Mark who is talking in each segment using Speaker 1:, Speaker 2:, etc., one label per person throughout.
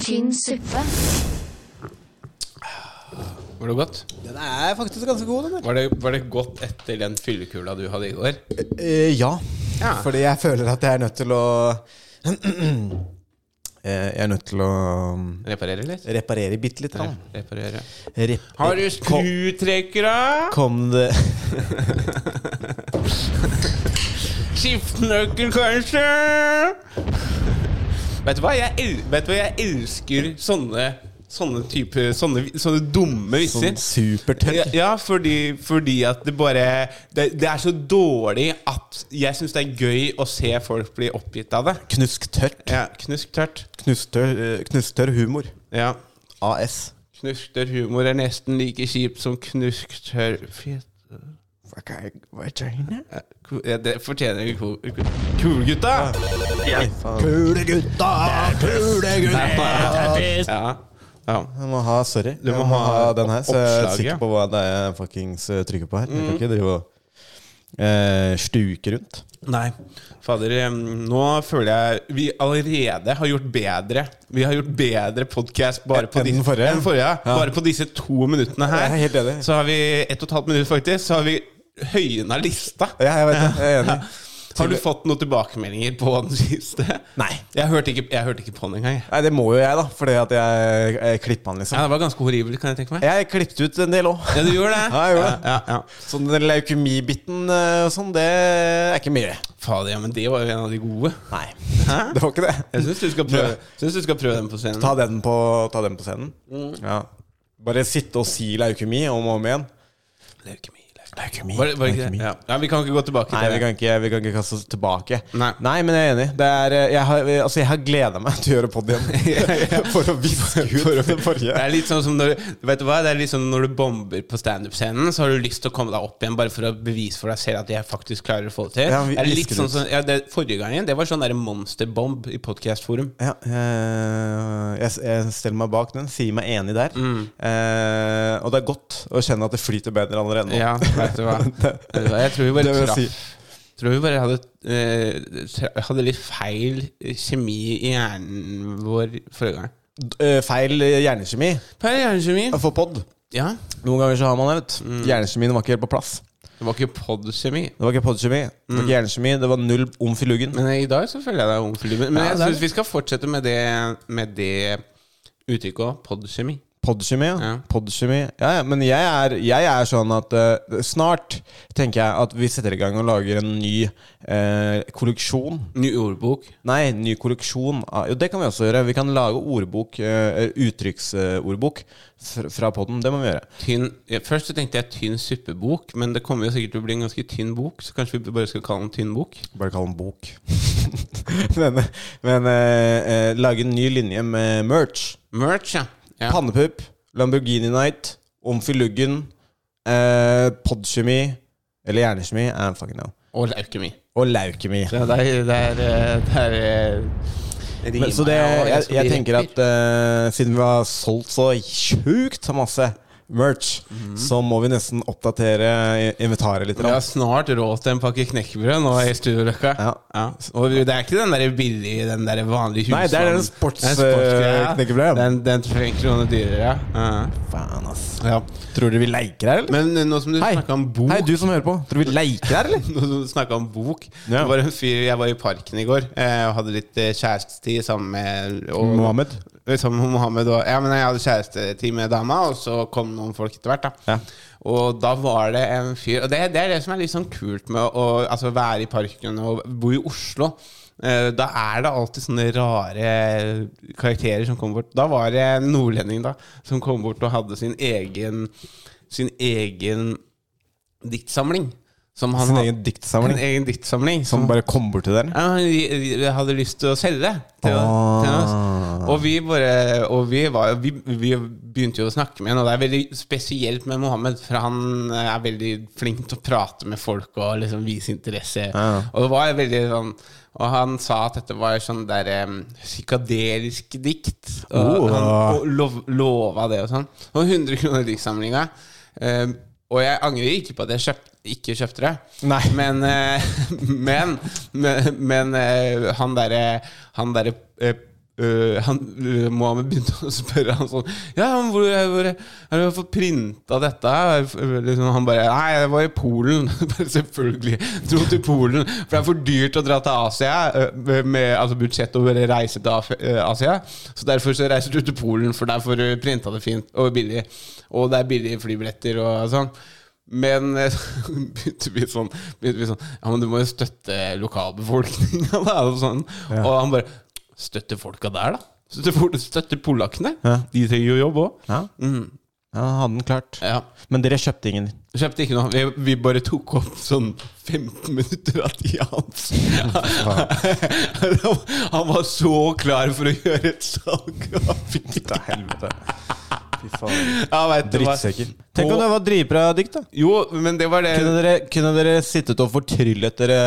Speaker 1: tynn suppe.
Speaker 2: Var det godt?
Speaker 3: Den er faktisk ganske god, den der.
Speaker 2: Var det, var det godt etter den fyllekula du hadde i går?
Speaker 3: Eh, ja.
Speaker 2: Ja.
Speaker 3: Fordi jeg føler at jeg er nødt til å Eh, Jeg er nødt til å um,
Speaker 2: Reparere litt?
Speaker 3: reparere bitte litt. grann.
Speaker 2: Reparere.
Speaker 3: Rep
Speaker 2: Har du skrutrekkere?
Speaker 3: kom det
Speaker 2: Skiftenøkkel, kanskje? Vet du hva? Jeg, el vet du hva? jeg elsker sånne Sånne type Sånne, sånne dumme visser.
Speaker 3: sånn supertørr?
Speaker 2: Ja, ja fordi, fordi at det bare det, det er så dårlig at jeg syns det er gøy å se folk bli oppgitt av det.
Speaker 3: Knusktørt.
Speaker 2: Ja, knusktørt.
Speaker 3: Knusktørr eh, knusktørr humor.
Speaker 2: Ja.
Speaker 3: AS.
Speaker 2: Knusktørr humor er nesten like kjipt som knusktørr fjet... Ja, ko- ja, Det fortjener ikke ko- ko- Kulegutta!
Speaker 3: Kulegutta, kulegutta
Speaker 2: Ja. ja.
Speaker 3: Jeg må ha sorry.
Speaker 2: Du må
Speaker 3: jeg må
Speaker 2: ha
Speaker 3: ha den her, så jeg er
Speaker 2: oppslaget. Mm.
Speaker 3: sikker på hva det er jeg fuckings eh, trykker på her. Jeg kan ikke drive og eh, stuke rundt.
Speaker 2: Nei. Fader, em, nå føler jeg Vi allerede har gjort bedre. Vi har gjort bedre podkast bare på
Speaker 3: Enn den
Speaker 2: disse-
Speaker 3: forrige?
Speaker 2: enn forrige ja.
Speaker 3: Ja.
Speaker 2: Bare på disse to minuttene her.
Speaker 3: Jeg er helt enig.
Speaker 2: Så har vi ett og et halvt minutt, faktisk. Så har vi høyna lista.
Speaker 3: Ja, jeg vet det. Jeg er enig.
Speaker 2: Har du fått noen tilbakemeldinger på den siste?
Speaker 3: Nei.
Speaker 2: Jeg hørte ikke, jeg hørte ikke på den engang. jeg.
Speaker 3: Nei, det må jo jeg, da. Fordi at jeg, jeg klippa den, liksom.
Speaker 2: Ja, det var ganske horribelt, kan jeg tenke meg.
Speaker 3: Jeg klippet ut en del òg.
Speaker 2: Ja, du gjorde det?
Speaker 3: Ja, jeg gjorde det.
Speaker 2: Ja, ja, ja.
Speaker 3: Sånn den leukemibiten eh, og sånn, det er ikke mye.
Speaker 2: Fader, ja, men det var jo en av de gode.
Speaker 3: Nei.
Speaker 2: Hæ?
Speaker 3: Det var ikke det.
Speaker 2: Jeg syns du, skal prøve- synes du skal prøve den på scenen.
Speaker 3: Ta den på, ta den på scenen. Ja. Bare sitte og si leukemi om og om igjen.
Speaker 2: Leukemi, leukemi.
Speaker 3: Leukemi.
Speaker 2: Var det, var det ikke det? Ja. ja, vi kan ikke gå tilbake
Speaker 3: Nei,
Speaker 2: til
Speaker 3: vi
Speaker 2: det.
Speaker 3: kan ikke, vi kan ikke kaste oss tilbake.
Speaker 2: Nei.
Speaker 3: men jeg er enig. Det er, eh, jeg har, altså, jeg har gleda meg til å gjøre pod igjen. For å viske ut det
Speaker 2: Det
Speaker 3: forrige.
Speaker 2: er litt sånn som når, vet du hva? Det er litt sånn når du bomber på standup-scenen, så har du lyst til å komme deg opp igjen bare for å bevise for deg selv at jeg faktisk klarer å få det til.
Speaker 3: Ja, vi-
Speaker 2: det er litt
Speaker 3: visker
Speaker 2: sånn
Speaker 3: ut.
Speaker 2: som, ja, det, forrige gangen, det var sånn der monsterbomb i podcastforum.
Speaker 3: Ja, eh, jeg, jeg stiller meg bak den, sier meg enig der. Eh, og det er godt å kjenne at det flyter bedre allerede nå.
Speaker 2: Ja, vet du hva. Vet du hva? Jeg tror vi bare
Speaker 3: Det vil jeg
Speaker 2: traff
Speaker 3: si.
Speaker 2: Tror vi bare hadde, eh, tra- hadde litt feil kjemi i hjernen vår forrige gang.
Speaker 3: D- eh, feil hjernekjemi
Speaker 2: Feil hjernekjemi?
Speaker 3: for pod.
Speaker 2: Ja.
Speaker 3: Noen ganger så har man det, vet du. Hjernekjemien var ikke helt på plass. Mm.
Speaker 2: Det var ikke podkjemi.
Speaker 3: Mm. Det var ikke podkjemi, det var ikke hjernekjemi, det var null omf i luggen.
Speaker 2: Men i dag så føler jeg deg ung for livet. Men
Speaker 3: Ja,
Speaker 2: jeg
Speaker 3: det er
Speaker 2: syns vi skal fortsette med det, med det uttrykket òg. Podkjemi.
Speaker 3: Podkjemi, ja.
Speaker 2: Ja.
Speaker 3: Podkjemi. Ja, ja. Men jeg er, jeg er sånn at eh, snart tenker jeg at vi setter i gang og lager en ny eh, kolleksjon.
Speaker 2: Ny ordbok.
Speaker 3: Nei, ny kolleksjon. av- Jo, det kan vi også gjøre. Vi kan lage ordbok, eh, uttrykksordbok fra, fra podden. Det må vi gjøre.
Speaker 2: Tynn, ja, først så tenkte jeg tynn suppebok, men det kommer jo sikkert til å bli en ganske tynn bok. Så kanskje vi bare skal kalle den tynn bok.
Speaker 3: Bare kall den bok. men men eh, eh, lage en ny linje med merch.
Speaker 2: Merch, ja. ja.
Speaker 3: Pannepupp, Lamborghini Night, Omfyll luggen, eh, podkjemi Eller hjernekjemi. Eh, fucking no.
Speaker 2: Og leukemi.
Speaker 3: Og laukemi.
Speaker 2: Det er, det er, det er, eh,
Speaker 3: Men, så det,
Speaker 2: rimer, ja,
Speaker 3: jeg,
Speaker 2: og
Speaker 3: jeg
Speaker 2: blir
Speaker 3: tenker
Speaker 2: rapper.
Speaker 3: at eh, siden vi har solgt så sjukt masse merch,
Speaker 2: Mhm.
Speaker 3: så må vi nesten oppdatere i- inventaret litt.
Speaker 2: Vi har
Speaker 3: grann.
Speaker 2: snart råd til en pakke knekkebrød nå i Studioløkka.
Speaker 3: Ja.
Speaker 2: Og det er ikke den der billige, den der vanlige husmannen.
Speaker 3: Nei, det er den sports-
Speaker 2: Det er sportsgreia.
Speaker 3: eh, knekkebrød, ja.
Speaker 2: Den, den trenger en krone dyrere. Ja.
Speaker 3: Faen, ass.
Speaker 2: Ja.
Speaker 3: Tror dere vi leker her, eller?
Speaker 2: Men eh, nå som du
Speaker 3: Hei.
Speaker 2: snakka om bok
Speaker 3: Hei, du som hører på. Tror du vi leker her, eller?
Speaker 2: Nå som du snakket om bok
Speaker 3: Ja.
Speaker 2: Det var en fyr Jeg var i parken i går eh, og hadde litt eh, kjærestetid sammen med og,
Speaker 3: Mohammed.
Speaker 2: Sammen med Mohammed og, Ja, men jeg hadde kjærestetid med dama, og så kom noen folk etter hvert. da
Speaker 3: Ja.
Speaker 2: Og da var det en fyr Og det, det er det som er litt sånn kult med å altså, være i parken og bo i Oslo. Eh, Da er det alltid sånne rare karakterer som kommer bort. Da var det en nordlending da som kom bort og hadde sin egen Sin egen diktsamling. Som han
Speaker 3: Sin
Speaker 2: had-
Speaker 3: egen diktsamling.
Speaker 2: En egen diktsamling
Speaker 3: Som bare kom bort til dere?
Speaker 2: ja, han ri- ri- hadde lyst til å selge til, til
Speaker 3: Ah.
Speaker 2: oss. Og vi bare Og vi, var, vi, vi begynte jo å snakke med ham, og det er veldig spesielt med Mohammed, for han eh, er veldig flink til å prate med folk og liksom vise interesse.
Speaker 3: Ja.
Speaker 2: Og det var veldig sånn Og han sa at dette var sånn der um, psykadelisk dikt. Og
Speaker 3: Oh.
Speaker 2: han og lov, lova det og sånn. Og 100 kroner diktsamlinga. Eh, og jeg angrer ikke på at jeg kjøpt, ikke kjøpte det.
Speaker 3: Nei.
Speaker 2: Men, eh, men, men, men eh, han derre han der, eh, øh, han, øh, Mohammed begynte å spørre han sånn Ja, men hvor, hvor har du fått printa dette? her?» Liksom, han bare Nei, jeg var i Polen. Bare Selvfølgelig. Dro til Polen. For det er for dyrt å dra til Asia øh, med altså budsjett over reise til Af- øh, Asia. Så derfor så reiser du til Polen, for der får du printa det fint og billig. Og det er billige flybilletter og sånn. Men eh, så begynte vi sånn, begynte vi sånn Ja, men du må jo støtte lokalbefolkninga, da. Og, sånn. og han bare Støtte folka der, da. Støtte, fol- støtte polakkene.
Speaker 3: Ja.
Speaker 2: De trenger jo jobb òg.
Speaker 3: Ja,
Speaker 2: Mm.
Speaker 3: ja han hadde den klart.
Speaker 2: Ja.
Speaker 3: Men dere kjøpte ingen?
Speaker 2: Kjøpte ikke noe. Vi, vi bare tok opp sånn 15 minutter av tida hans. Han- Han var så klar for å gjøre et salg. Han fikk det.
Speaker 3: Til helvete. Fy faen.
Speaker 2: Ja, vet du hva.
Speaker 3: Drittsekker. Tenk om det var dritbra dikt, da.
Speaker 2: Jo, men det var det.
Speaker 3: Kunne dere, kunne dere sittet og fortryllet dere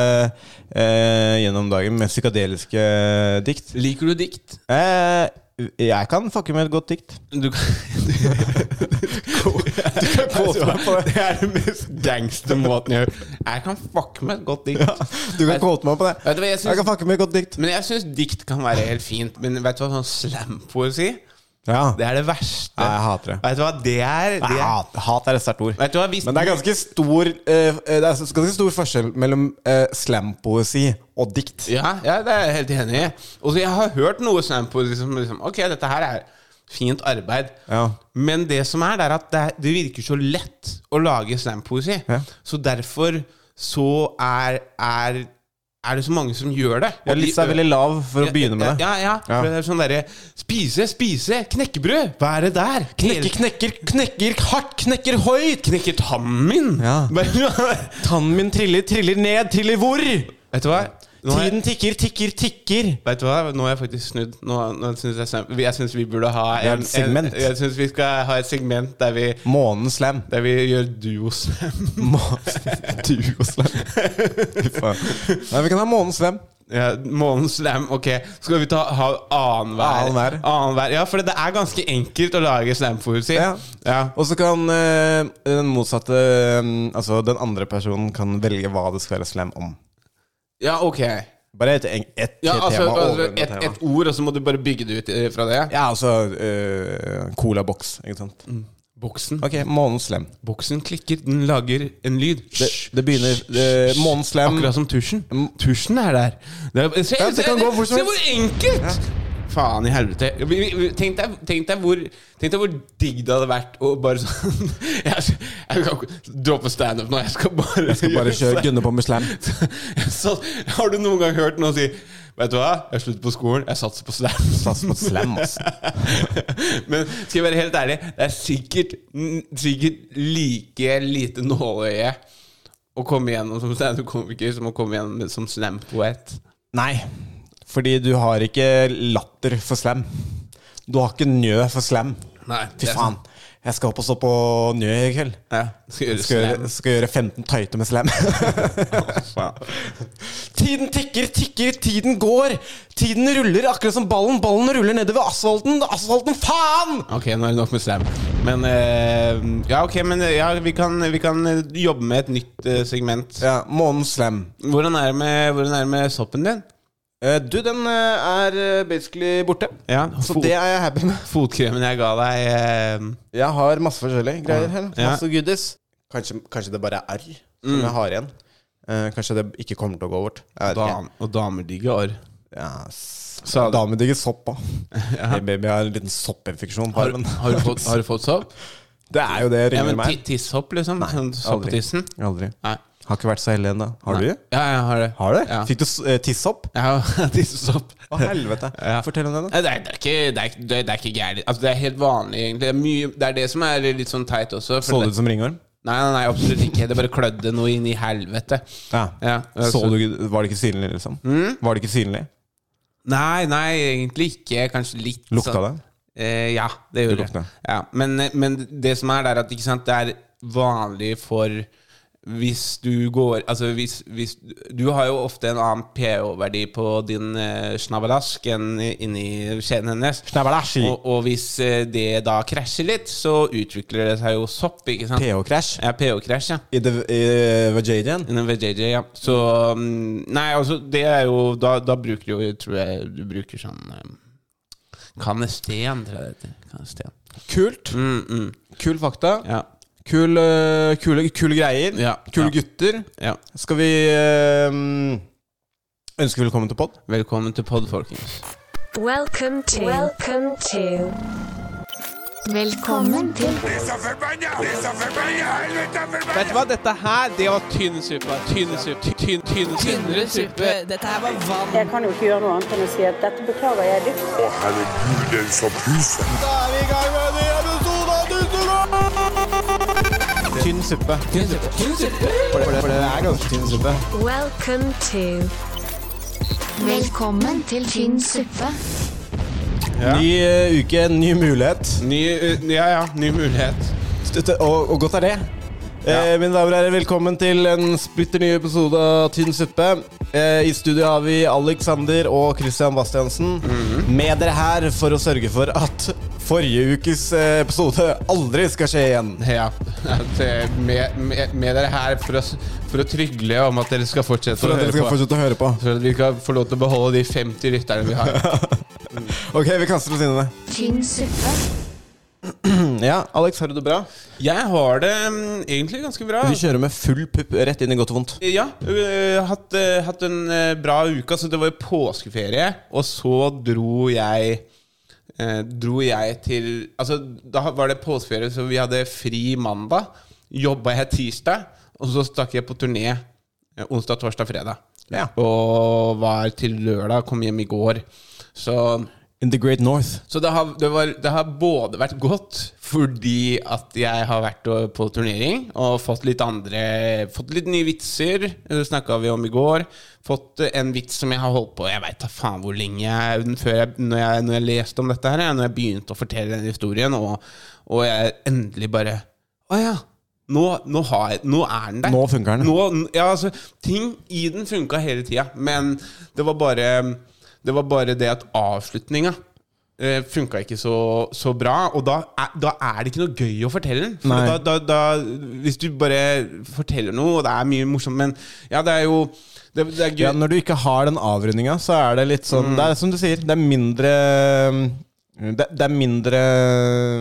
Speaker 3: eh, gjennom dagen med psykadeliske dikt?
Speaker 2: Liker du dikt?
Speaker 3: Eh, jeg kan fucke med et godt dikt.
Speaker 2: Du kan Du, kan kåte meg på det. Det er den mest gangstermåten jeg gjør. Jeg kan fucke med et godt dikt.
Speaker 3: Du kan
Speaker 2: Jeg-
Speaker 3: kåte meg på det.
Speaker 2: Vet du hva jeg
Speaker 3: Jeg
Speaker 2: syns?
Speaker 3: kan fucke med et godt dikt.
Speaker 2: Men jeg syns dikt kan være helt fint. Men vet du hva sånn slampoesi?
Speaker 3: Ja.
Speaker 2: Det er det verste.
Speaker 3: Nei, jeg hater det.
Speaker 2: Vet du hva det er? Det
Speaker 3: Nei,
Speaker 2: er
Speaker 3: Hat, hat er et sterkt ord.
Speaker 2: Vet du hva, hvis
Speaker 3: Men det er ganske stor, eh, det er ganske stor forskjell mellom eh, slampoesi og dikt.
Speaker 2: Ja, ja, det er jeg helt enig i. Og så jeg har hørt noe slampoesi som liksom Ok, dette her er fint arbeid.
Speaker 3: Ja.
Speaker 2: Men det som er, det er at det, er- det virker så lett å lage slampoesi.
Speaker 3: Ja.
Speaker 2: Så derfor så er, er er det så mange som gjør det?
Speaker 3: Ja,
Speaker 2: Og de-
Speaker 3: Lista er veldig lav for å begynne med det.
Speaker 2: Ja, ja.
Speaker 3: Ja.
Speaker 2: For det er sånn derre Spise, spise, knekkebrød! Hva er det der?
Speaker 3: Knekker,
Speaker 2: Hele-
Speaker 3: knekker, knekker hardt, knekker høyt!
Speaker 2: Knekker tannen min!
Speaker 3: Ja.
Speaker 2: Vet
Speaker 3: Tannen min triller, triller ned, triller hvor?
Speaker 2: du hva? Nå har jeg-
Speaker 3: Tiden tikker, tikker, tikker.
Speaker 2: Vet du hva? Nå har jeg faktisk snudd. Nå, nå synes jeg, slam- jeg syns vi burde ha
Speaker 3: er et segment.
Speaker 2: En, jeg synes vi skal ha et segment der vi,
Speaker 3: Månen slam.
Speaker 2: der vi gjør duoslam.
Speaker 3: Duoslam. Fy faen. Nei, vi kan ha månen slam.
Speaker 2: Ja, Månens slam, ok. Skal vi ta ha annenhver?
Speaker 3: Annenhver.
Speaker 2: Annenhver. Ja, for det er ganske enkelt å lage slampoesi.
Speaker 3: Ja.
Speaker 2: Ja.
Speaker 3: Og så kan eh, den motsatte eh, Altså den andre personen kan velge hva det skal være slam om.
Speaker 2: ja, ok.
Speaker 3: Bare et, en- et,
Speaker 2: Ja, altså,
Speaker 3: tema
Speaker 2: altså,
Speaker 3: over et,
Speaker 2: et,
Speaker 3: tema.
Speaker 2: et ord, og så må du bare bygge det ut eh, fra det.
Speaker 3: Ja, altså eh, colaboks, ikke sant.
Speaker 2: Mm. Boksen
Speaker 3: Ok, månen slam.
Speaker 2: Boksen klikker, den lager en lyd.
Speaker 3: Det, det begynner eh, Månen slam
Speaker 2: Akkurat som tusjen. Tusjen er der. Det er, se,
Speaker 3: Ja, det
Speaker 2: se,
Speaker 3: kan gå hvor som
Speaker 2: se hvor enkelt! Faen i helvete. Vi- vi- vi- Tenk deg, tenk, deg hvor, tenk deg hvor digg det hadde vært å bare sånn Jeg, jeg kan ikke droppe standup nå. Jeg skal bare, jeg
Speaker 3: Bare kjør gunne på med slam.
Speaker 2: Så, har du noen gang hørt noen si Vet du hva, jeg slutter på skolen, jeg satser på standup.
Speaker 3: Sats på slam, ass.
Speaker 2: Men skal jeg være helt ærlig, det er sikkert, n- sikkert like lite nåløye å komme igjennom som standup-komiker som å komme igjennom som slam-poet.
Speaker 3: Nei, fordi du har ikke latter for slam. Du har ikke njø for slam.
Speaker 2: Nei,
Speaker 3: Fy faen. Jeg skal opp og stå på njø i kveld.
Speaker 2: Ja, skal gjøre
Speaker 3: Skal
Speaker 2: slam.
Speaker 3: gjøre, skal gjøre 15 tøyter med slam.
Speaker 2: Faen.
Speaker 3: tiden tikker, tikker, tiden går. Tiden ruller akkurat som ballen. Ballen ruller nedover asfalten. Asfalten, faen!
Speaker 2: Ok, nå er det nok med slam. Men eh, Ja, ok, men eh, ja, vi, kan, vi kan eh, jobbe med et nytt eh, segment.
Speaker 3: Ja, månens slam.
Speaker 2: Hvordan er det med, hvordan er det med soppen din?
Speaker 3: Eh, Du, den eh, er eh, basically borte.
Speaker 2: Ja,
Speaker 3: Så
Speaker 2: fot,
Speaker 3: det er jeg happy med.
Speaker 2: Fotkremen jeg ga deg eh,
Speaker 3: Jeg har masse forskjellige greier her.
Speaker 2: Ja.
Speaker 3: Masse goodies. Kanskje, kanskje det bare er arr som jeg har igjen. Eh, kanskje det ikke kommer til å gå bort. Jeg vet ikke.
Speaker 2: dam, Og damer digger arr.
Speaker 3: Ja,
Speaker 2: Sa
Speaker 3: s-
Speaker 2: du-
Speaker 3: Dame digger sopp, da. Hey baby, jeg har en liten soppinfeksjon på
Speaker 2: Har,
Speaker 3: armen.
Speaker 2: har, du fått- har du fått sopp?
Speaker 3: Det er jo det jeg
Speaker 2: Ja,
Speaker 3: ringer
Speaker 2: men
Speaker 3: meg.
Speaker 2: ti- Tisshopp, liksom? Sånn sopp på
Speaker 3: aldri.
Speaker 2: tissen?
Speaker 3: Aldri.
Speaker 2: Nei.
Speaker 3: Har ikke vært så heldig ennå. Har du?
Speaker 2: Nei. Ja, jeg har det.
Speaker 3: Har du?
Speaker 2: Ja.
Speaker 3: Fikk du s- eh, tisshopp?
Speaker 2: Jeg har tissesopp.
Speaker 3: Å, helvete.
Speaker 2: Ja.
Speaker 3: Fortell om det, da.
Speaker 2: Nei, Det er, det er ikke, det er, ikke- det er ikke gærent. Altså, det er helt vanlig, egentlig. Det er, mye, det er det som er litt sånn teit også. for
Speaker 3: Så
Speaker 2: det-
Speaker 3: det ut som ringorm?
Speaker 2: Nei, nei, nei, absolutt ikke. Det bare klødde noe inn i helvete.
Speaker 3: Ja.
Speaker 2: Ja,
Speaker 3: Så
Speaker 2: altså-
Speaker 3: du, ikke- var det ikke synlig, liksom? Var det ikke synlig?
Speaker 2: Nei, nei, egentlig ikke. Kanskje litt
Speaker 3: Lukta
Speaker 2: sånn-
Speaker 3: det?
Speaker 2: Eh, ja, det gjorde
Speaker 3: lukta.
Speaker 2: det. Ja, men, men det som er der, at ikke sant, det er vanlig for hvis du går Altså hvis, hvis Du har jo ofte en annen pH-verdi på din eh, snabelask enn inni skjeen hennes.
Speaker 3: Snabbelasj.
Speaker 2: Og, og hvis eh, det da krasjer litt, så utvikler det seg jo sopp, ikke sant?
Speaker 3: PH-krasj.
Speaker 2: Ja, pH-krasj, ja.
Speaker 3: I, eh, the- i Vajadian.
Speaker 2: Innen VJJ, ja. Så um, Nei, altså, det er jo Da, da bruker du jo, tror jeg du bruker sånn um, Kanesten, tror jeg det heter. Kanesten.
Speaker 3: Kult.
Speaker 2: Mm, mm.
Speaker 3: Kul fakta.
Speaker 2: Ja.
Speaker 3: Kul, øh, kule, kule greier.
Speaker 2: Ja.
Speaker 3: Kule
Speaker 2: Ja.
Speaker 3: gutter.
Speaker 2: ja.
Speaker 3: Skal vi øh, ønske velkommen til pod?
Speaker 2: Velkommen til pod, folkens.
Speaker 1: Welcome to. Welcome to. Velkommen til.
Speaker 2: Vet du hva, dette her, det var tynn suppe. Tynn suppe. Tynn, tynn,
Speaker 4: Tynnere suppe. Dette her var vann.
Speaker 5: Jeg kan jo ikke gjøre noe annet enn å si at dette beklager jeg dypt.
Speaker 6: Å, herregud, den som puser.
Speaker 3: Da er vi i gang med en ny episode av Dusseland! Tynn suppe. For det, for det er ganske tynn suppe.
Speaker 1: Welcome to.
Speaker 7: Velkommen til Tynn suppe.
Speaker 3: Ny øh, uke, ny mulighet.
Speaker 2: Ny, uh, ja, ja, ny mulighet.
Speaker 3: Støtte, og, og godt er det. Eh, mine damer og herrer, velkommen til en splitter ny episode av Tynn suppe. Eh, I studio har vi Alexander og Christian Bastiansen med dere her for å sørge for at forrige ukes eh, episode aldri skal skje igjen.
Speaker 2: Ja. At, eh, med, med, med dere her for å, s- for å trygle om at dere skal fortsette
Speaker 3: For
Speaker 2: å
Speaker 3: at dere
Speaker 2: høre
Speaker 3: skal
Speaker 2: på.
Speaker 3: fortsette å høre på.
Speaker 2: For at vi kan få lov til å beholde de 50 lytterne vi har.
Speaker 3: Ok, vi kaster oss inn i det.
Speaker 7: Tynn suppe.
Speaker 3: Ja, Alex, har du det bra?
Speaker 2: Jeg har det mm, egentlig ganske bra.
Speaker 3: Vi kjører med full pupp rett inn i godt og vondt.
Speaker 2: Ja, øh, hatt, øh, hatt en øh, bra uke. Altså, det var jo påskeferie, og så dro jeg øh, Dro jeg til Altså, da var det påskeferie, så vi hadde fri mandag. Jobba jeg tirsdag, og så stakk jeg på turné eh, onsdag, torsdag, fredag.
Speaker 3: Ja.
Speaker 2: Og var til lørdag, kom hjem i går. Så
Speaker 3: In the Great North.
Speaker 2: så det har, det, var, det har både vært godt fordi at jeg har vært og- på turnering og fått litt andre Fått litt nye vitser. Det snakka vi om i går. Fått eh, en vits som jeg har holdt på Jeg veit da faen hvor lenge jeg, den før jeg, når, jeg, når jeg leste om dette her, jeg, når jeg begynte å fortelle den historien, og, og jeg endelig bare Å ja. Nå, nå, har jeg, nå er den der.
Speaker 3: Nå funker den.
Speaker 2: Nå, ja, altså, ting i den funka hele tida, men det var bare det, var bare det at avslutninga eh, funka ikke så, så bra. Og da er, da er det ikke noe gøy å fortelle den. For
Speaker 3: Nei.
Speaker 2: da, da, da, hvis du bare forteller noe, og det er mye morsomt, men ja, det er jo det, det er gøy.
Speaker 3: Ja, når du ikke har den avrundinga, så er det
Speaker 2: Mm.
Speaker 3: litt sånn Det er som du sier, det er mindre Det, det er mindre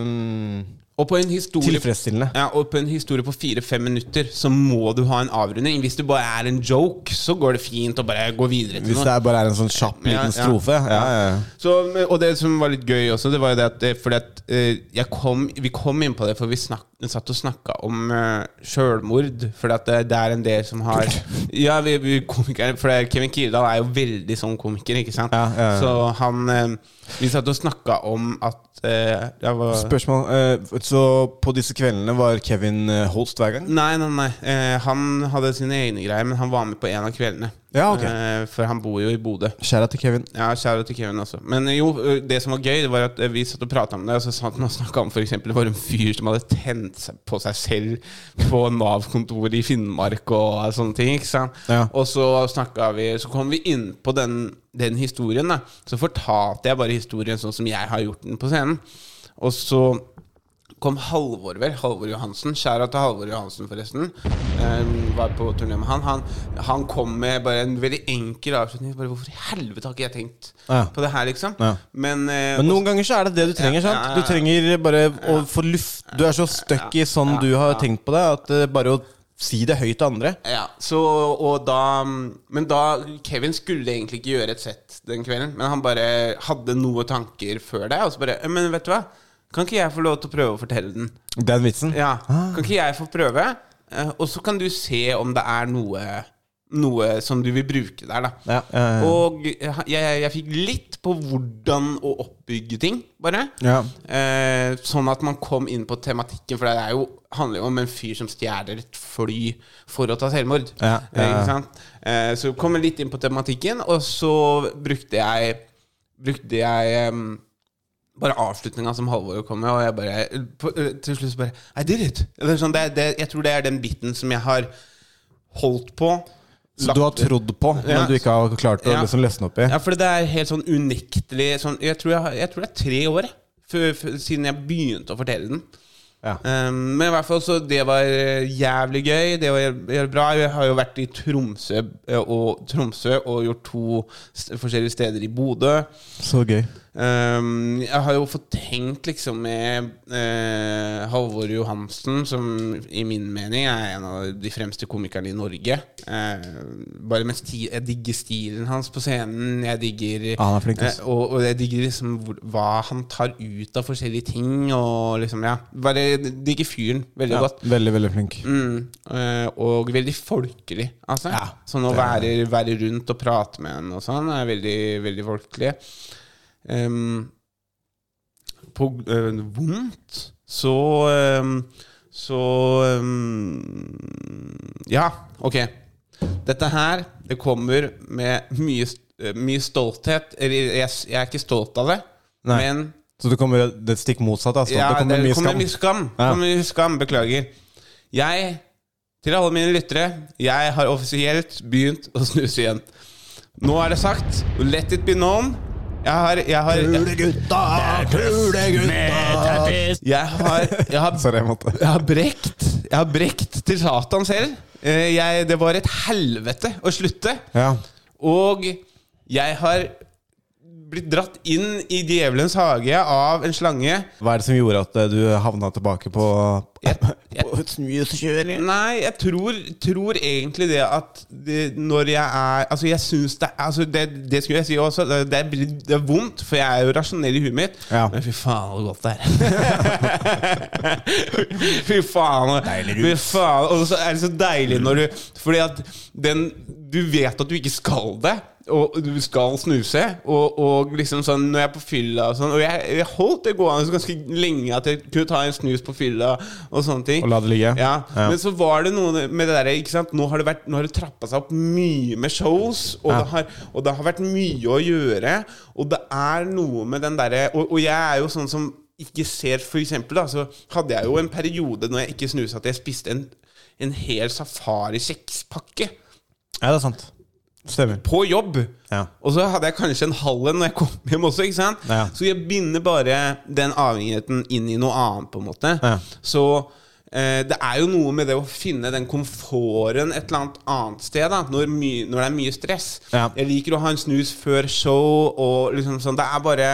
Speaker 3: mm,
Speaker 2: og på en historie
Speaker 3: tilfredsstillende.
Speaker 2: ja, og på en historie på fire-fem minutter så må du ha en avrunding. Hvis det bare er en joke, så går det fint å bare gå videre til
Speaker 3: Hvis
Speaker 2: noe.
Speaker 3: det er bare er en sånn kjapp
Speaker 2: Ja, ja.
Speaker 3: liten strofe. Ja, ja, ja.
Speaker 2: Så, og det som var litt gøy også, det var jo det at eh, Fordi at eh, jeg kom, vi kom inn på det, for vi snak, satt og snakka om uh, sjølmord. For at det, det er en del som har Ja, vi, vi komikere For det, Kevin Kildahl er jo veldig sånn komiker, ikke sant?
Speaker 3: Ja, ja, ja.
Speaker 2: Så han eh, Vi satt og snakka om at eh, jeg var,
Speaker 3: Spørsmål eh, Så på disse kveldene var Kevin eh, Holst hver gang?
Speaker 2: Nei, nei, nei. Eh, han hadde sine egne greier, men han var med på en av kveldene.
Speaker 3: Ja, ok.
Speaker 2: Eh, for han bor jo i Bodø.
Speaker 3: Skjæra til Kevin.
Speaker 2: Ja, kjære til Kevin også. Men eh, jo, det som var gøy, det var at eh, vi satt og prata om det, og så satt han og snakka om for eksempel, det var en fyr som hadde tent seg på seg selv på Nav-kontoret i Finnmark og sånne ting. ikke sant?
Speaker 3: Ja.
Speaker 2: Og så snakket vi Så kom vi inn på den, den historien, da. Så fortalte jeg bare historien sånn som jeg har gjort den på scenen. Og så kom Halvor vel, Halvor Johansen. Skjæra til Halvor Johansen, forresten. Ehm, var på turné med han. han. Han kom med bare en veldig enkel avslutning. Bare, Hvorfor i helvete har ikke jeg tenkt
Speaker 3: Ja.
Speaker 2: på det her, liksom?
Speaker 3: Ja.
Speaker 2: Men, eh,
Speaker 3: Men noen ganger så er det det du
Speaker 2: Ja,
Speaker 3: trenger. sant?
Speaker 2: ja, ja.
Speaker 3: Du trenger bare å få luft Du er så stuck i sånn du har tenkt på det, at eh, bare å si det høyt til andre
Speaker 2: Ja, så, og da Men da Kevin skulle egentlig ikke gjøre et sett den kvelden, men han bare hadde noen tanker før det, og så bare «Eh, Men vet du hva? Kan ikke jeg få lov til å prøve å fortelle den?
Speaker 3: Den vitsen.
Speaker 2: Ja,
Speaker 3: Ah.
Speaker 2: Kan ikke jeg få prøve? Eh, Og så kan du se om det er noe noe som du vil bruke der, da.
Speaker 3: Ja, eh, ja, ja.
Speaker 2: Og jeg, jeg, jeg fikk litt på hvordan å oppbygge ting, bare.
Speaker 3: Ja.
Speaker 2: Eh, sånn at man kom inn på tematikken, for det er jo, handler jo om en fyr som stjeler et fly for å ta selvmord.
Speaker 3: Ja, ja,
Speaker 2: Eh,
Speaker 3: ja.
Speaker 2: Ikke sant? Eh, så kom jeg litt inn på tematikken, og så brukte jeg, brukte jeg em, bare avslutninga som Halvor kom med, og jeg bare på, eh, Til slutt så bare I did it! Eller sånn, det, det, jeg tror det er den biten som jeg har holdt på.
Speaker 3: Så du har trodd på, men
Speaker 2: Ja.
Speaker 3: du ikke har klart å
Speaker 2: Ja.
Speaker 3: liksom løsne opp i.
Speaker 2: Ja, for det er helt sånn unektelig sånn, jeg, tror jeg, har- jeg tror det er tre år jeg, før- før- siden jeg begynte å fortelle den.
Speaker 3: Ja.
Speaker 2: Um, men i hvert fall så det var eh, jævlig gøy. Det var jæv- jævlig bra. Jeg har jo vært i Tromsø eh, og, Tromsø og gjort to st forskjellige steder i Bodø.
Speaker 3: Så gøy.
Speaker 2: Ehm, jeg har jo fått tenkt liksom med eh, Halvor Johansen, som i min mening er en av de fremste komikerne i Norge. Eh, bare med stil, Jeg digger stilen hans på scenen. Jeg digger
Speaker 3: Ja, han er flink, ass.
Speaker 2: Eh, og, og jeg digger liksom hvor, hva han tar ut av forskjellige ting. Og liksom, ja Bare digger fyren veldig
Speaker 3: Ja,
Speaker 2: godt.
Speaker 3: veldig, veldig flink.
Speaker 2: Mm, eh, og veldig folkelig. Altså.
Speaker 3: Ja,
Speaker 2: sånn å
Speaker 3: det er
Speaker 2: være, være rundt og prate med henne og sånn er veldig, veldig folkelig. Ehm, på eh, vondt så ehm, Så ehm, Ja, ok. Dette her det kommer med mye, st- mye stolthet. Eller jeg, s- jeg er ikke stolt av det,
Speaker 3: Nei.
Speaker 2: men
Speaker 3: Så det kommer det stikk motsatte? Altså. det kommer mye skam.
Speaker 2: mye skam.
Speaker 3: Ja.
Speaker 2: Kommer mye skam, Beklager. Jeg, til alle mine lyttere, jeg har offisielt begynt å snuse igjen. Nå er det sagt. Let it be known. Jeg har Jeg har, jeg, har, jeg har
Speaker 3: Sorry, jeg måtte
Speaker 2: jeg har brekt Jeg har brekt til Satan selv. Eh, Jeg, det var et helvete å slutte.
Speaker 3: Ja.
Speaker 2: Og jeg har blitt dratt inn i djevelens hage av en slange.
Speaker 3: Hva er det som gjorde at eh, du havna tilbake på
Speaker 2: jeg-
Speaker 3: på et snuskjøring?
Speaker 2: Nei, jeg tror, tror egentlig det at det, når jeg er Altså, jeg syns det er altså det, det skulle jeg si også. Det, det, er, det er vondt, for jeg er jo rasjonell i huet mitt.
Speaker 3: Ja.
Speaker 2: Men fy faen, så godt det er. fy faen. Fy faen. Og så er det så
Speaker 3: Mm.
Speaker 2: deilig når du Fordi at den Du vet at du ikke skal det. Og du skal snuse. Og, og liksom sånn når jeg er på fylla og sånn Og jeg, jeg holdt det gående ganske lenge at jeg kunne ta en snus på fylla og sånne ting.
Speaker 3: Og la det ligge?
Speaker 2: Ja.
Speaker 3: Ja.
Speaker 2: Men så var det noe med det derre ikke sant? Nå har det, vært- nå har det trappa seg opp mye med shows, og,
Speaker 3: Ja.
Speaker 2: det har, og det har vært mye å gjøre. Og det er noe med den derre og, og jeg er jo sånn som ikke ser For eksempel, da, så hadde jeg jo en periode når jeg ikke snusa, at jeg spiste en, en hel safarikjekspakke
Speaker 3: Ja, det er sant. Stemmer.
Speaker 2: på jobb.
Speaker 3: Ja.
Speaker 2: Og så hadde jeg kanskje en halv en når jeg kom hjem også. ikke sant?
Speaker 3: Ja.
Speaker 2: Så jeg binder bare den avhengigheten inn i noe annet, på en måte.
Speaker 3: Ja.
Speaker 2: Så eh, det er jo noe med det å finne den komforten et eller annet annet sted, da, når, my når det er mye stress.
Speaker 3: Ja.
Speaker 2: Jeg liker å ha en snus før show, og liksom sånn. Det er bare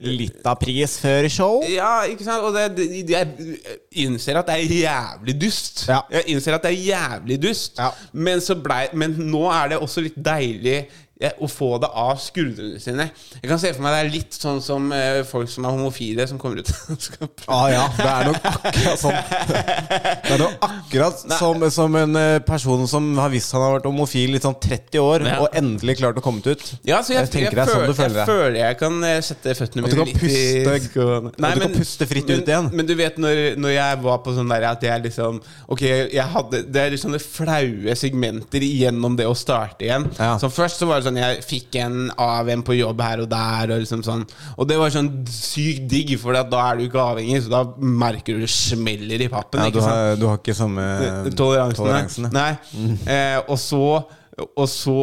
Speaker 3: Litt av pris før show.
Speaker 2: ja, ikke sant? Og det, det, jeg innser at det er jævlig dust.
Speaker 3: Ja.
Speaker 2: Jeg innser at det er jævlig dust.
Speaker 3: Ja.
Speaker 2: Men, så blei, men nå er det også litt deilig eh, å få det av skuldrene sine. Jeg kan se for meg det er litt sånn som eh, folk som er homofile, som kommer ut og skal prøve.
Speaker 3: Ah, ja, det er nok akkurat sånn. Det er nok akkurat som, som en eh, person som har visst han har vært homofil i sånn 30 år,
Speaker 2: Ja.
Speaker 3: og endelig klart å komme ut.
Speaker 2: Ja, så jeg, jeg,
Speaker 3: tenker det er
Speaker 2: føler,
Speaker 3: sånn du føler
Speaker 2: jeg
Speaker 3: deg.
Speaker 2: føler jeg kan eh, sette føttene
Speaker 3: At du
Speaker 2: mine
Speaker 3: kan
Speaker 2: litt i
Speaker 3: puste-
Speaker 2: skoene.
Speaker 3: at du kan puste fritt
Speaker 2: men,
Speaker 3: ut igjen.
Speaker 2: Men du vet når, når jeg var på sånn der at jeg liksom Ok, jeg hadde Det er litt sånne flaue segmenter gjennom det å starte igjen.
Speaker 3: Ja.
Speaker 2: Så først så var det sånn jeg fikk en av en på jobb her og der, og liksom sånn. Og det var sånn sykt digg, for da er du ikke avhengig, så da merker du det smeller i pappen.
Speaker 3: Ja, du,
Speaker 2: ikke sant?
Speaker 3: har, du har ikke samme
Speaker 2: toleransen.
Speaker 3: toleransen, ja.
Speaker 2: Nei. Eh, og, så, og så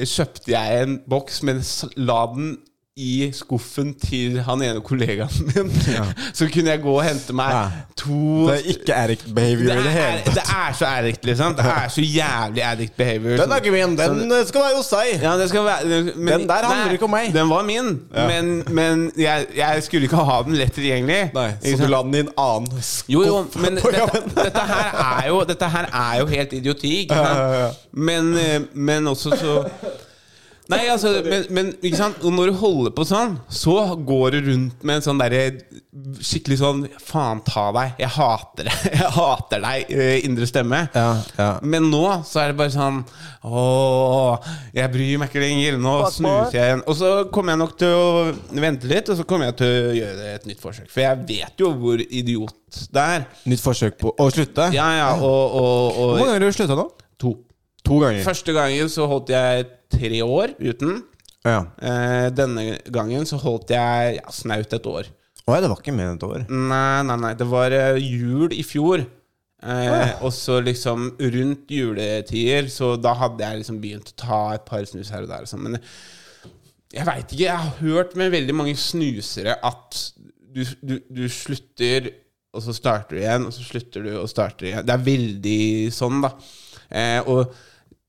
Speaker 2: kjøpte jeg en boks, men s- la den i skuffen til han ene kollegaen min. Så kunne jeg gå og hente meg
Speaker 3: Ja.
Speaker 2: to
Speaker 3: Det er ikke Eric behavior i det hele
Speaker 2: det
Speaker 3: tatt.
Speaker 2: er så addict, liksom. Det er så jævlig addict behavior.
Speaker 3: Den er ikke min, den eh, skal være hos deg.
Speaker 2: Ja, det skal være, men-
Speaker 3: Den der handler
Speaker 2: nei,
Speaker 3: ikke om meg.
Speaker 2: Den var min,
Speaker 3: Ja.
Speaker 2: men, men jeg, jeg skulle ikke ha den lett tilgjengelig.
Speaker 3: Nei,
Speaker 2: Ikke
Speaker 3: så
Speaker 2: sant?
Speaker 3: du la den i en annen skuff
Speaker 2: Jo, jo, men
Speaker 3: på
Speaker 2: dette,
Speaker 3: jobben?
Speaker 2: dette, her er jo, dette her er jo helt idioti, ikke sant?
Speaker 3: Ja, ja, ja.
Speaker 2: Men, eh, men også så Nei, altså, men, men ikke sant? Og når du holder på sånn, så går du rundt med en sånn derre skikkelig sånn Faen ta deg, jeg hater deg, jeg hater deg, eh, indre stemme.
Speaker 3: Ja, ja.
Speaker 2: Men nå så er det bare sånn Åh, jeg bryr meg ikke lenger. Nå snuser jeg igjen. Og så kommer jeg nok til å vente litt, og så kommer jeg til å gjøre et nytt forsøk. For jeg vet jo hvor idiot det er.
Speaker 3: Nytt forsøk på å slutte?
Speaker 2: Ja, ja, og, og,
Speaker 3: Hvor
Speaker 2: og
Speaker 3: mange ganger har du slutta nå?
Speaker 2: To.
Speaker 3: To ganger.
Speaker 2: Første gangen så holdt jeg tre år uten.
Speaker 3: Ja.
Speaker 2: Eh, denne gangen så holdt jeg ja, snaut et år.
Speaker 3: Å ja, det var ikke mer enn et år.
Speaker 2: Nei, nei, nei. Det var eh, jul i fjor. Eh, og så liksom rundt juletider, så da hadde jeg liksom begynt å ta et par snus her og der. Og sånn. Men jeg veit ikke. Jeg har hørt med veldig mange snusere at du, du, du slutter, og så starter du igjen, og så slutter du, og starter igjen. Det er veldig sånn, da. Eh, og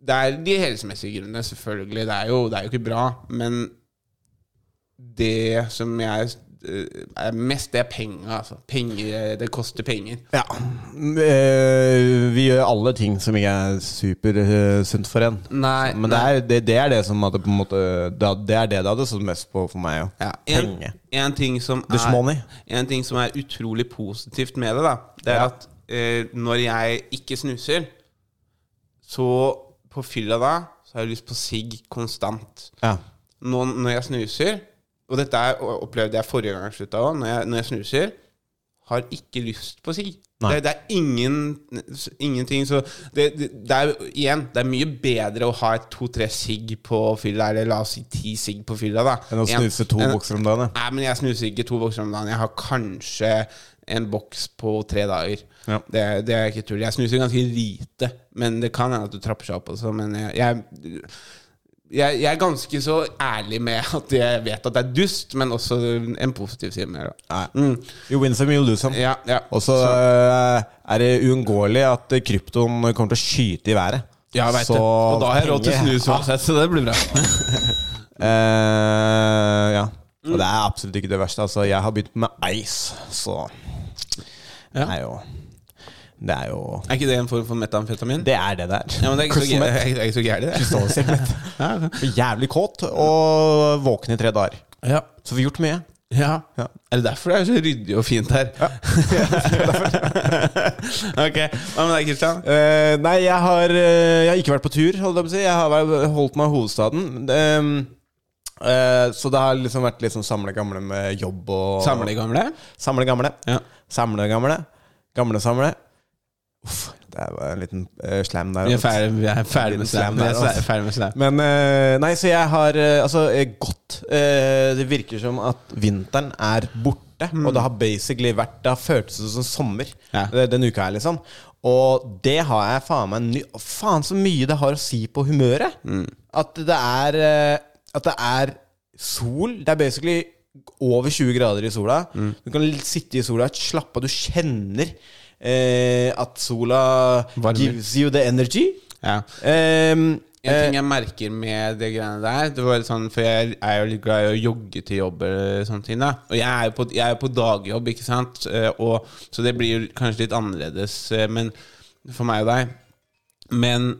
Speaker 2: det er de helsemessige grunnene, selvfølgelig. Det er jo, det er jo ikke bra. Men det som jeg eh, er mest, det er penger. Altså. penger eh, det koster penger.
Speaker 3: Ja. Mm, Eh, vi gjør alle ting som ikke er supersunt for en.
Speaker 2: Nei,
Speaker 3: Men det er det, det er det som hadde på en måte Det er det det hadde stått mest på for meg òg.
Speaker 2: Ja, en,
Speaker 3: Penger.
Speaker 2: en, ting som
Speaker 3: This money.
Speaker 2: er, en ting som er utrolig positivt med det, da, det er
Speaker 3: Ja.
Speaker 2: at eh, når jeg ikke snuser, så på fylla da, så har jeg lyst på sigg konstant.
Speaker 3: Ja.
Speaker 2: Nå, når jeg snuser, og dette er, og opplevde jeg forrige gang jeg slutta òg, når, jeg- når jeg snuser, har ikke lyst på sigg.
Speaker 3: Nei.
Speaker 2: Det, det er ingen, ingenting så det, det, det er igjen, det er mye bedre å ha et to-tre sigg på fylla, eller la oss si ti sigg på fylla, da.
Speaker 3: Enn å
Speaker 2: En-
Speaker 3: snuse to
Speaker 2: en-
Speaker 3: bokser om dagen. ja.
Speaker 2: Nei, men jeg snuser ikke to bokser om dagen. Jeg har kanskje en boks på tre dager.
Speaker 3: Ja.
Speaker 2: Det, det er ikke tull. Jeg snuser ganske lite, men det kan hende at du trapper seg opp også. Men jeg, jeg, jeg, jeg er ganske så ærlig med at jeg vet at det er dust, men også en positiv side med det.
Speaker 3: Nei.
Speaker 2: Mm.
Speaker 3: You win some, you lose some.
Speaker 2: Ja, ja.
Speaker 3: Og så eh, er det uunngåelig at kryptoen kommer til å skyte i været.
Speaker 2: ja, jeg vet
Speaker 3: Så
Speaker 2: det. Og da har jeg råd til
Speaker 3: penger-
Speaker 2: snus uansett, så det blir bra.
Speaker 3: Eh, ja. Og det er absolutt ikke det verste. Altså, jeg har begynt med ice, så Det
Speaker 2: Ja.
Speaker 3: er jo Det er jo
Speaker 2: Er ikke det en form for metamfetamin?
Speaker 3: Det er det der.
Speaker 2: Ja, men det er ikke så
Speaker 3: Kryptomet.
Speaker 2: gæ- det er ikke så gærent, det.
Speaker 3: Krystallsikkerhet. Jævlig kåt og våken i tre dager.
Speaker 2: Ja.
Speaker 3: Så vi har gjort mye.
Speaker 2: Ja.
Speaker 3: Ja.
Speaker 2: Er det derfor det er så ryddig og fint her? ok. Hva med deg, Kristian?
Speaker 3: Eh, nei, jeg har, eh, jeg har ikke vært på tur, holdt jeg på å si. Jeg har vært- holdt meg i hovedstaden. Ehm, eh, så det har liksom vært liksom samle gamle med jobb og
Speaker 2: Samle gamle?
Speaker 3: Samle gamle.
Speaker 2: Ja.
Speaker 3: Samle gamle. Gamle samle. Uff, det var en liten eh, slam der.
Speaker 2: Vi er
Speaker 3: altså.
Speaker 2: ferdig, vi er ferdig med slam. Vi er sla- ferdig med slam.
Speaker 3: Men eh, nei, så jeg har eh, altså eh, gått. Eh, det virker som at vinteren er borte, og det har basically vært Det har føltes ut som sommer
Speaker 2: Mm. Ja.
Speaker 3: eh, denne uka her, liksom. Og det har jeg faen meg ny Faen så mye det har å si på humøret!
Speaker 2: Mm.
Speaker 3: At det er eh, At det er sol. Det er basically over 20 grader i sola.
Speaker 2: Mm.
Speaker 3: Du kan l- sitte i sola, slappe av. Du kjenner eh, at sola
Speaker 2: Varmer.
Speaker 3: gives you the energy.
Speaker 2: Ja.
Speaker 3: Um,
Speaker 2: En ting jeg merker med det greiene der Det var litt sånn, For jeg er jo litt glad i å jogge til jobb, eller sånne ting da og jeg er jo på, jeg er jo på dagjobb, ikke sant? Eh, Og, så det blir jo kanskje litt annerledes eh, men, for meg og deg. Men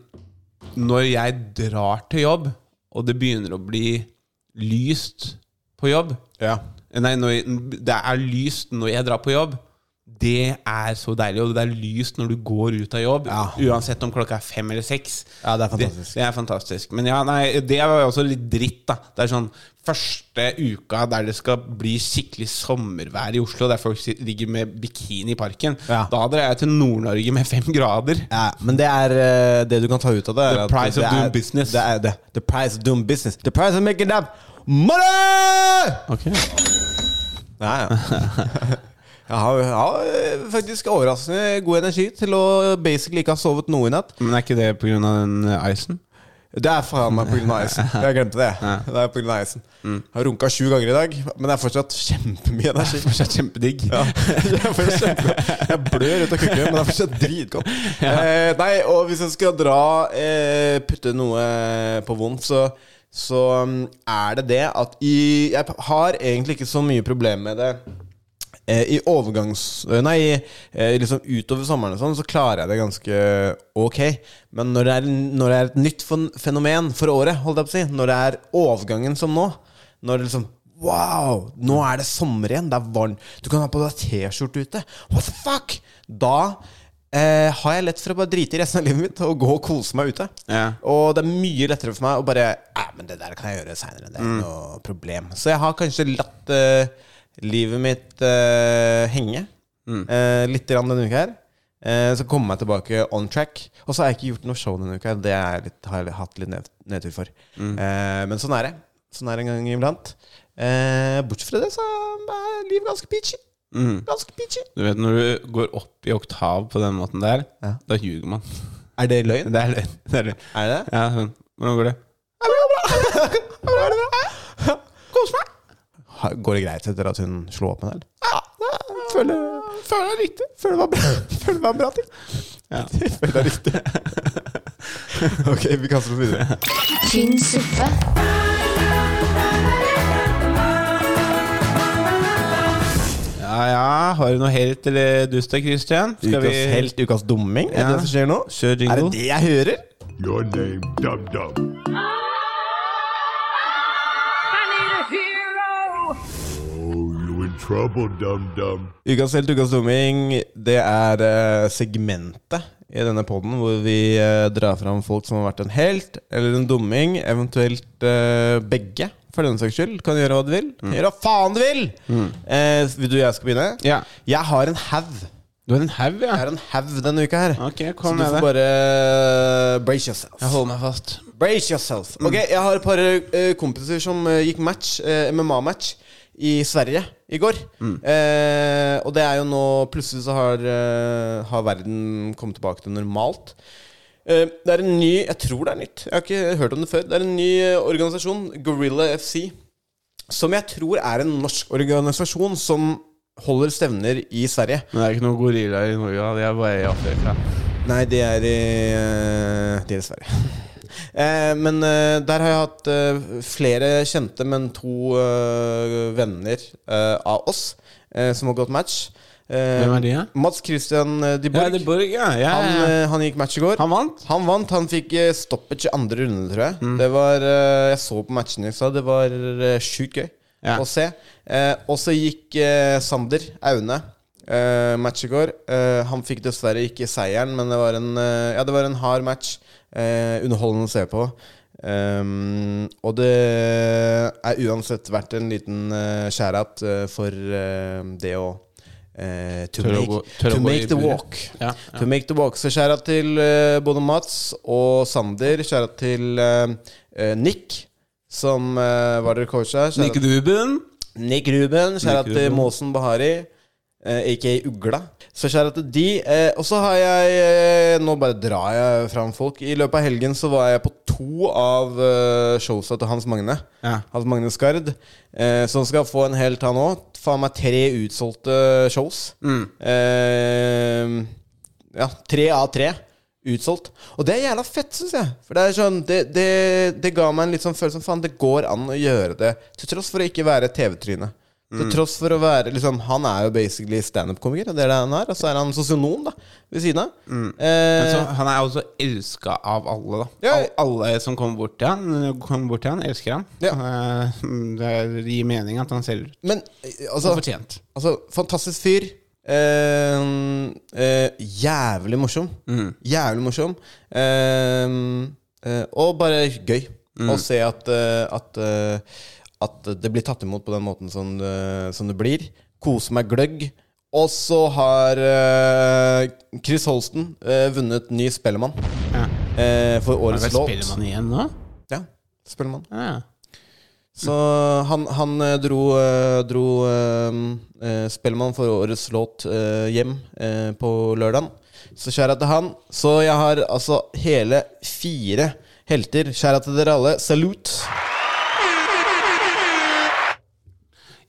Speaker 2: når jeg drar til jobb, og det begynner å bli lyst på jobb
Speaker 3: ja.
Speaker 2: Nei, når, det er lyst når jeg drar på jobb. Det er så deilig, og det er lyst når du går ut av jobb.
Speaker 3: Ja.
Speaker 2: Uansett om klokka er fem eller seks.
Speaker 3: Ja, det er fantastisk.
Speaker 2: Det, det er fantastisk. Men ja, nei, det er jo også litt dritt, da. Det er sånn første uka der det skal bli skikkelig sommervær i Oslo, der folk sit- ligger med bikini i parken.
Speaker 3: Ja.
Speaker 2: Da drar jeg til Nord-Norge med fem grader.
Speaker 3: Ja, men det er eh, det du kan ta ut av det. er
Speaker 2: The
Speaker 3: at
Speaker 2: price
Speaker 3: det
Speaker 2: of doing
Speaker 3: er-
Speaker 2: business.
Speaker 3: Det er det. The price of doing business. The price of making up money! Ja, ja. Jeg har, jeg har eh, faktisk overraskende god energi til å basically ikke ha sovet noe i natt.
Speaker 2: Men er ikke det pga. den eh, icen?
Speaker 3: Det er faen meg pga. isen. Jeg glemte det. Det er på grunn av isen. Jeg har runka sju ganger i dag, men det er fortsatt kjempemye energi.
Speaker 2: Fortsatt kjempedigg.
Speaker 3: Ja. Jeg, får kjempe, jeg blør ut av kukken, men det er fortsatt dritgodt. Eh, nei, og hvis jeg skal dra eh, putte noe på vondt, så, så mm, er det det at i, jeg har egentlig ikke så mye problem med det. Eh, I overgangs... eh, Nei, eh, liksom utover sommeren og sånn, så klarer jeg det ganske ok. Men når det er, når det er et nytt fen- fenomen for året, holdt jeg på å si, når det er overgangen som nå, når det liksom Wow! Nå er det sommer igjen, det er varmt. Du kan ha på deg T-skjorte ute. What the fuck? Da eh, har jeg lett for å bare drite i resten av livet mitt og gå og kose meg ute.
Speaker 2: Ja.
Speaker 3: Og det er mye lettere for meg å bare Ja, men det der kan jeg gjøre seinere. Det er ikke noe problem. Så jeg har kanskje latt eh, livet mitt eh, henge eh, litt grann denne uka her. Eh, så kommer jeg tilbake on track. Og så har jeg ikke gjort noe show denne uka. Det er jeg litt, har jeg hatt litt ned, nedtur for. Eh, men sånn er det. Sånn er det en gang iblant. Eh, bortsett fra det, så er livet ganske peachy. Ganske peachy.
Speaker 2: Mm. Du vet når du går opp i oktav på den måten der,
Speaker 3: Ja.
Speaker 2: da ljuger man.
Speaker 3: Er det løgn?
Speaker 2: Det er løgn. Det er løgn.
Speaker 3: Er det det?
Speaker 2: Ja, sånn. Hvordan går det?
Speaker 3: Kos meg. Går det greit etter at hun slo opp med deg? Ja, det føler, føler det er riktig. Føler det var bra, føler det var bra til.
Speaker 2: Ja.
Speaker 3: Føler det er riktig. ok, vi kaster oss videre.
Speaker 7: Tynn suppe.
Speaker 2: Ja, ja. Har du noe helt eller dust der, Christian? Skal vi
Speaker 3: Ukas helt, ukas dumming. Er
Speaker 2: Ja.
Speaker 3: det det som skjer nå?
Speaker 2: Kjør jingle.
Speaker 3: Er det det jeg hører?
Speaker 6: Your name, Dum Dum. Oh, you in trouble, Dum Dum.
Speaker 3: Ukas helt, ukas dumming, det er eh, segmentet i denne poden hvor vi eh, drar fram folk som har vært en helt eller en dumming, eventuelt eh, begge, for denne saks skyld. Kan gjøre hva du vil.
Speaker 2: Mm.
Speaker 3: Gjør hva faen du vil! Eh, vil du jeg skal begynne?
Speaker 2: Ja.
Speaker 3: Jeg har en haug.
Speaker 2: Du har en haug,
Speaker 3: Jeg
Speaker 2: ja.
Speaker 3: har en haug denne uka her.
Speaker 2: Ok,
Speaker 3: Så
Speaker 2: kom
Speaker 3: du
Speaker 2: med
Speaker 3: får
Speaker 2: det.
Speaker 3: bare eh, brace yourself.
Speaker 2: Jeg holder meg fast.
Speaker 3: Brace yourself. Ok, Jeg har et par eh, kompiser som eh, gikk match, eh, MMA-match, i Sverige i går. Eh, og det er jo nå Plutselig så har, eh, har verden kommet tilbake til normalt. Eh, det er en ny Jeg tror det er nytt. Jeg har ikke hørt om det før. Det er en ny eh, organisasjon, Gorilla FC, som jeg tror er en norsk organisasjon som holder stevner i Sverige.
Speaker 2: Men det er ikke noen gorillaer i Norge, da. De er bare i Afrika.
Speaker 3: Nei, de er i eh, De er i Sverige. Eh, men eh, der har jeg hatt eh, flere kjente, men to eh, venner eh, av oss eh, som har gått match. Eh,
Speaker 2: Hvem er de, da?
Speaker 3: Mats Christian eh, de
Speaker 2: Ja,
Speaker 3: Borg.
Speaker 2: det er Borg, ja. ja,
Speaker 3: han,
Speaker 2: ja.
Speaker 3: eh, han gikk match i går.
Speaker 2: Han vant? Mm.
Speaker 3: Han vant. Han fikk eh, stoppage i andre runde, tror jeg. Det var, eh, Jeg så på matchen i stad. Det var eh, sjukt gøy
Speaker 2: Ja.
Speaker 3: å se. Eh, og så gikk eh, Sander Aune eh, match i går. Eh, han fikk dessverre ikke seieren, men det var en, eh, ja, det var en hard match. Eh, underholdende å se på. Ehm, og det er uansett verdt en liten uh, skjærat for eh, det å eh, to,
Speaker 2: Tørre å
Speaker 3: make,
Speaker 2: gå- tørre å
Speaker 3: to
Speaker 2: gå i
Speaker 3: make the
Speaker 2: buret.
Speaker 3: walk.
Speaker 2: Ja,
Speaker 3: To make the walk. Så skjæra til eh, både Mats og Sander. Skjæra til eh, eh, Nick, som eh, var dere coach her. Shout out-
Speaker 2: Nick Ruben.
Speaker 3: Nick Ruben. Skjæra
Speaker 2: Nick
Speaker 3: til
Speaker 2: Ruben.
Speaker 3: Måsen Bahari. eh, Aka Ugla. Så skjæra til de. eh, og så har jeg eh, Nå bare drar jeg fram folk. I løpet av helgen så var jeg på to av eh, showsa til Hans Magne.
Speaker 2: Ja.
Speaker 3: Hans Magne Skard, eh, som skal få en helt, han òg. Faen meg tre utsolgte shows.
Speaker 2: Mm.
Speaker 3: Eh, ja, tre av tre utsolgt. Og det er jævla fett, syns jeg. For det, er sånn, det, det, det ga meg en litt sånn følelse av faen, det går an å gjøre det, til tross for å ikke være TV-tryne. Til
Speaker 2: Mm.
Speaker 3: tross for å være liksom, Han er jo basically standup-komiker, og det er det han er. Og så er han sosionom, da, ved siden av. Eh,
Speaker 2: Mm. Men så, han er også elska av alle, da.
Speaker 3: Ja.
Speaker 2: Al- alle som kommer bort til han, eh, kommer bort til han elsker han.
Speaker 3: Ja.
Speaker 2: Eh, Det er- det gir mening at han selger ut.
Speaker 3: men eh,
Speaker 2: Så
Speaker 3: altså
Speaker 2: fortjent.
Speaker 3: Altså, fantastisk fyr. Eh, eh, jævlig morsom.
Speaker 2: Mm.
Speaker 3: Jævlig morsom. Eh, eh, og bare gøy
Speaker 2: Mm.
Speaker 3: å se at, eh, at, eh, at det blir tatt imot på den måten som, det- som det blir. Kose meg gløgg. Og så har eh, Chris Holsten eh, vunnet ny Spellemann
Speaker 2: Ja.
Speaker 3: eh, for
Speaker 2: Er
Speaker 3: årets
Speaker 2: det
Speaker 3: låt.
Speaker 2: Spellemann igjen nå?
Speaker 3: Ja, Spellemann.
Speaker 2: Ja.
Speaker 3: Så han, han eh, dro, eh, dro eh, eh, Spellemann for årets låt eh, hjem eh, på lørdagen. Så skjæra til han. Så jeg har altså hele fire helter. Skjæra til dere alle. Salut!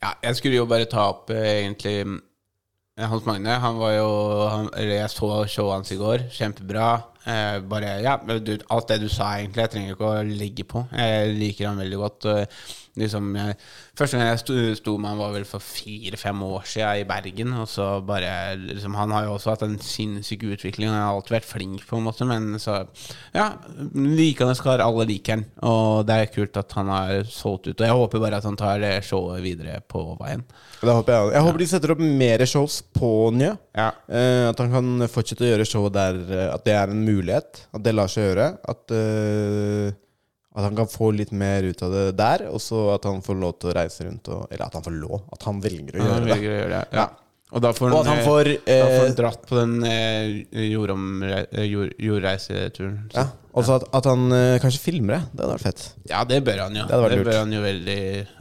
Speaker 2: ja, jeg skulle jo bare ta opp eh, egentlig eh, Hans Magne. Han var jo han, Eller jeg så showet hans i går. Kjempebra. Eh, bare, ja, men du, Alt det du sa, egentlig. Jeg trenger ikke å legge på. Jeg liker han veldig godt. Og, liksom, jeg, første gang jeg sto, sto med han, var vel for fire-fem år siden i Bergen. Og så bare liksom, Han har jo også hatt en sinnssyk utvikling. Han har alltid vært flink, på en måte. Men så Ja, likende skar. Alle liker han. Og det er kult at han har solgt ut. Og jeg håper bare at han tar det showet videre på veien.
Speaker 3: Det håper jeg. Jeg håper de setter opp mer shows på Njø.
Speaker 2: Ja.
Speaker 3: Eh, at han kan fortsette å gjøre showet der eh, At det er en mulighet. At det lar seg gjøre. At, eh, at han kan få litt mer ut av det der. Og så at han får lov til å reise rundt og Eller at han får lov. At han velger
Speaker 2: Han
Speaker 3: å gjøre det.
Speaker 2: velger å gjøre det. Ja. Og da får
Speaker 3: Og at han får,
Speaker 2: eh, da får han
Speaker 3: eh,
Speaker 2: dratt på den eh, jordom, eh, jord, jordreiseturen. Så-
Speaker 3: Ja, Og så at, at han eh, kanskje filmer det. Det hadde vært fett.
Speaker 2: ja, det bør han jo.
Speaker 3: hadde vært
Speaker 2: Det
Speaker 3: lurt.
Speaker 2: bør han jo veldig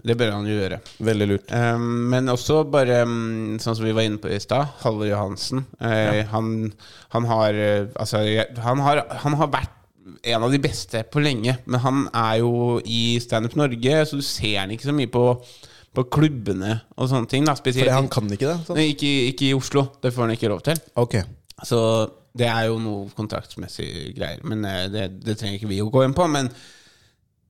Speaker 2: Det bør han jo gjøre.
Speaker 3: Veldig lurt.
Speaker 2: Um, men også bare um, sånn som vi var inne på i stad, Halvor Johansen. Eh, han, han har eh, Altså, jeg- han har, han har vært en av de beste på lenge, men han er jo i Standup Norge, så du ser han ikke så mye på, på klubbene og sånne ting. Da, spesielt
Speaker 3: Fordi han kan ikke det? Sånn.
Speaker 2: Nei, ikke, ikke i Oslo. Det får han ikke lov til.
Speaker 3: Ok.
Speaker 2: Så det er jo noe kontraktsmessig greier. Men eh, det, det trenger ikke vi å gå inn på. Men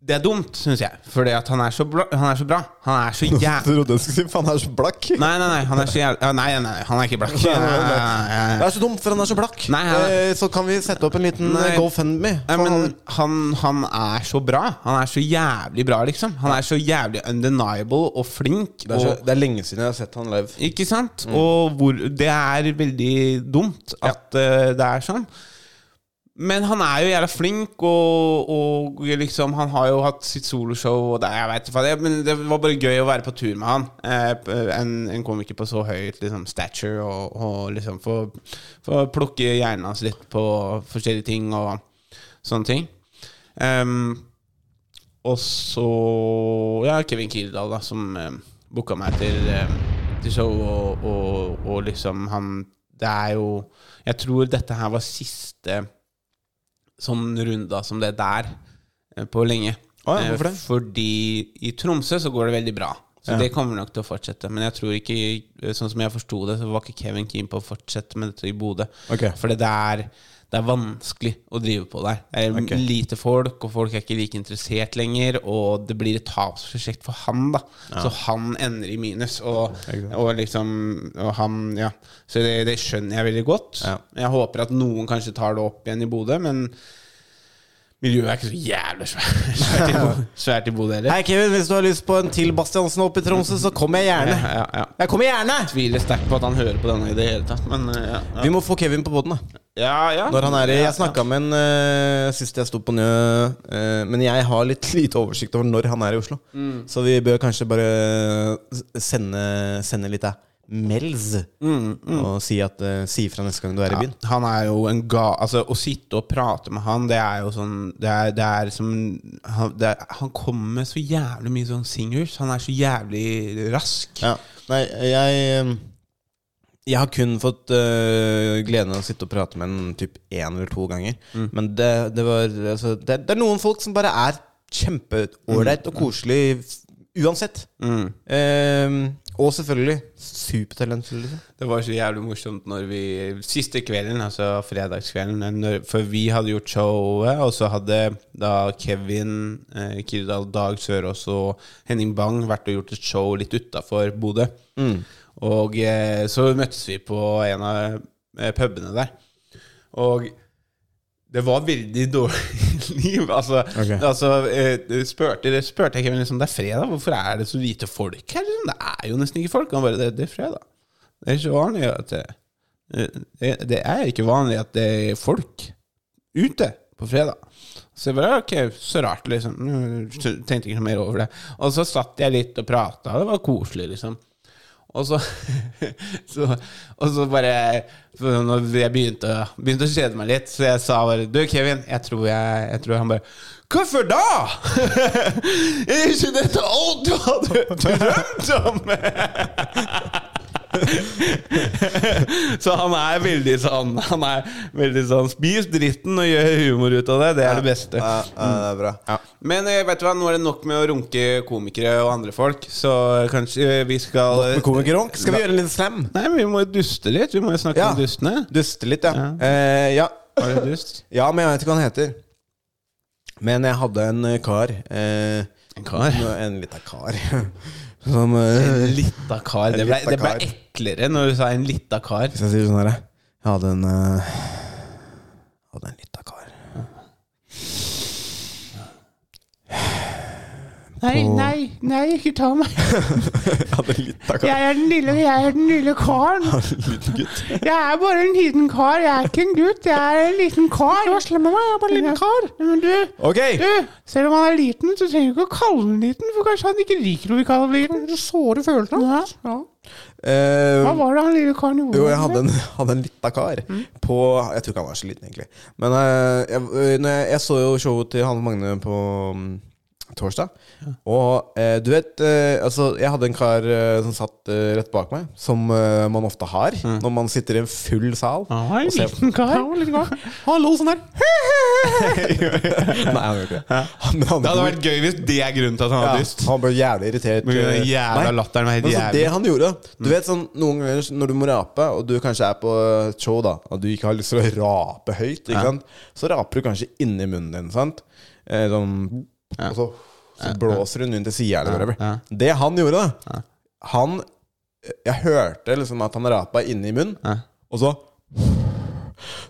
Speaker 2: Det er dumt, syns jeg. Fordi at han er så, bra, han er så bra. Han er så
Speaker 3: Jeg
Speaker 2: jævlig
Speaker 3: trodde jeg skulle si faen, han er så blakk.
Speaker 2: Nei, nei, nei, han er så jævlig Nei, nei, nei, han er ikke blakk.
Speaker 3: Nei, nei, nei.
Speaker 2: Nei,
Speaker 3: Det
Speaker 2: nei,
Speaker 3: er så dumt, for han er så blakk.
Speaker 2: Nei, han er-
Speaker 3: Eh, Så kan vi sette opp en liten
Speaker 2: Nei.
Speaker 3: eh, GoFundMe.
Speaker 2: Nei,
Speaker 3: for
Speaker 2: men
Speaker 3: han-
Speaker 2: han, han er så bra. Han er så jævlig bra, liksom. Han er så jævlig undeniable og flink.
Speaker 3: det, er så,
Speaker 2: og,
Speaker 3: det er lenge siden jeg har sett han live.
Speaker 2: Ikke sant? Og hvor, det er veldig dumt at eh, det er sånn. Men han er jo jævla flink, og, og liksom, han har jo hatt sitt soloshow. Og det, jeg vet, ikke hva det, er, men det var bare gøy å være på tur med han. Eh, p- en, en komiker på så høyt liksom, stature, og, og liksom få, få plukke hjernen hans litt på forskjellige ting og sånne ting. Ehm, og så ja, Kevin Kildahl, da, som eh, booka meg til, eh, til show, og, og, og liksom han Det er jo Jeg tror dette her var siste sånn runda som det der eh, på lenge.
Speaker 3: Å ja,
Speaker 2: Eh,
Speaker 3: hvorfor det?
Speaker 2: Fordi i Tromsø så går det veldig bra. Så
Speaker 3: Ja.
Speaker 2: det kommer nok til å fortsette. Men jeg tror ikke, sånn som jeg forsto det, så var ikke Kevin keen på å fortsette med dette i Bodø.
Speaker 3: Ok.
Speaker 2: For det er, det er vanskelig å drive på der. Det er
Speaker 3: Ok.
Speaker 2: lite folk, og folk er ikke like interessert lenger. Og det blir et tapsprosjekt for han, da. Så han ender i minus. Og,
Speaker 3: sant.
Speaker 2: og liksom og han, ja. Så det, det skjønner jeg veldig godt.
Speaker 3: Ja.
Speaker 2: Jeg håper at noen kanskje tar det opp igjen i Bodø, men miljøet er ikke så jævlig svært, svært, i, Bo- svært i Bodø heller.
Speaker 3: Hei, Kevin, hvis du har lyst på en til Bastiansen opp i Tromsø, så kommer jeg
Speaker 2: Ja,
Speaker 3: gjerne.
Speaker 2: ja, ja.
Speaker 3: Jeg kommer gjerne!
Speaker 2: Tviler sterkt på at han hører på denne i det hele tatt, men eh, ja. ja.
Speaker 3: Vi må få Kevin på båten, da.
Speaker 2: ja, ja.
Speaker 3: Når han er i,
Speaker 2: Ja,
Speaker 3: jeg snakka med en eh, sist jeg sto på Njø, eh, men jeg har litt lite oversikt over når han er i Oslo.
Speaker 2: Mm.
Speaker 3: Så vi bør kanskje bare s- sende, sende litt av mails og si, at, eh, si fra neste gang du er i byen.
Speaker 2: Mm, Ja, han er jo en ga... Altså, å sitte og prate med han, det er jo sånn Det er, det er som han, det er, han kommer med så jævlig mye sånn singers. Han er så jævlig rask.
Speaker 3: Ja. Nei, jeg eh, Jeg har kun fått eh, gleden av å sitte og prate med en typ én eller to ganger.
Speaker 2: Mm.
Speaker 3: Men det, det var altså, det, det er noen folk som bare er kjempeålreit
Speaker 2: Mm.
Speaker 3: og koselig f- uansett. Eh, og selvfølgelig supertalentfulle. liksom.
Speaker 2: Det var så jævlig morsomt når vi Siste kvelden, altså fredagskvelden, når, for vi hadde gjort showet, og så hadde da Kevin, eh, Kirdal, Dag Sørås og Henning Bang vært og gjort et show litt utafor Bodø. Og eh, så møttes vi på en av eh, pubene der. Og det var veldig dårlig liv. Altså,
Speaker 3: Ok.
Speaker 2: altså eh, spurte, spurte jeg Kevin liksom, det er fredag, hvorfor er det så lite folk her? Liksom? Det er jo nesten ikke folk. Han bare, det, det er fredag. Det er ikke vanlig at det, det, det er ikke vanlig at det er folk ute på fredag. Så jeg bare Ok, så rart, liksom. Tenkte ikke noe mer over det. Og så satt jeg litt og prata, det var koselig, liksom. Og så, så, og så bare for Når jeg begynte, begynte å kjede meg litt, så jeg sa bare Du, Kevin, jeg tror jeg, jeg tror han bare Hvorfor da?! er ikke dette alt du hadde drømt om?! Så han er veldig sånn Han er veldig sånn Spis dritten og gjør humor ut av det. Det er det beste.
Speaker 3: Ja, ja, det er bra.
Speaker 2: Men eh, vet du hva, nå er det nok med å runke komikere og andre folk, så kanskje vi skal
Speaker 3: Med komikerunk skal vi gjøre en liten slam.
Speaker 2: Nei, men vi må jo duste litt. Vi må jo snakke
Speaker 3: Ja.
Speaker 2: om dustene.
Speaker 3: Duste litt, ja.
Speaker 2: Ja.
Speaker 3: Eh, ja.
Speaker 2: Var det dust?
Speaker 3: Ja, men jeg vet ikke hva han heter. Men jeg hadde en eh, kar eh,
Speaker 2: En kar?
Speaker 3: nå- En liten kar. Som eh,
Speaker 2: Lita kar. Det ble,
Speaker 3: lita
Speaker 2: det ble
Speaker 3: kar.
Speaker 2: eklere når du sa en lita kar.
Speaker 3: Hvis jeg sier sånn her Jeg hadde en eh, Hadde en liten kar.
Speaker 2: Nei, nei, nei, ikke ta meg.
Speaker 3: Jeg hadde en liten kar.
Speaker 2: er den lille, jeg er den lille karen.
Speaker 3: En liten gutt.
Speaker 2: Jeg er bare en liten kar. Jeg er ikke en gutt. Jeg er en liten kar. Du slem med meg. Jeg er bare en liten kar. Men du,
Speaker 3: Ok! eh,
Speaker 2: selv om han er liten, så trenger du ikke å kalle han liten. For kanskje han ikke liker noe vi kaller ham liten. Såre følelser. Ja.
Speaker 3: Eh,
Speaker 2: Hva var det han lille karen gjorde?
Speaker 3: jo, jeg hadde en, hadde en liten kar på Jeg tror ikke han var så liten, egentlig. Men eh, jeg, eh, når jeg, jeg så jo showet til Hanne Magne på mm, torsdag. Og eh, du vet eh, Altså, jeg hadde en kar eh, som satt eh, rett bak meg, som eh, man ofte har når man sitter i en full sal.
Speaker 2: Han var en
Speaker 3: og ser-
Speaker 2: liten kar.
Speaker 3: Han var en liten kar. Han lo sånn der. Nei, han gjør ikke det. Han, han,
Speaker 2: Det hadde vært gøy hvis det er grunnen til at han har
Speaker 3: ja,
Speaker 2: dyst.
Speaker 3: Han ble jævlig irritert. eh,
Speaker 2: Men den jævla
Speaker 3: Nei.
Speaker 2: latteren var helt
Speaker 3: Men så
Speaker 2: jævlig. Mm.
Speaker 3: Det han gjorde Du vet sånn noen ganger når du må rape, og du kanskje er på et show, da og du ikke har lyst til å rape høyt, ikke sant? så raper du kanskje inni munnen din. Sant? Eh, sånn
Speaker 2: Ja.
Speaker 3: Og så, så blåser hun rundt i sida eller whatever.
Speaker 2: ja.
Speaker 3: Det han gjorde, da Han Jeg hørte liksom at han rapa inni munnen,
Speaker 2: Ja.
Speaker 3: og så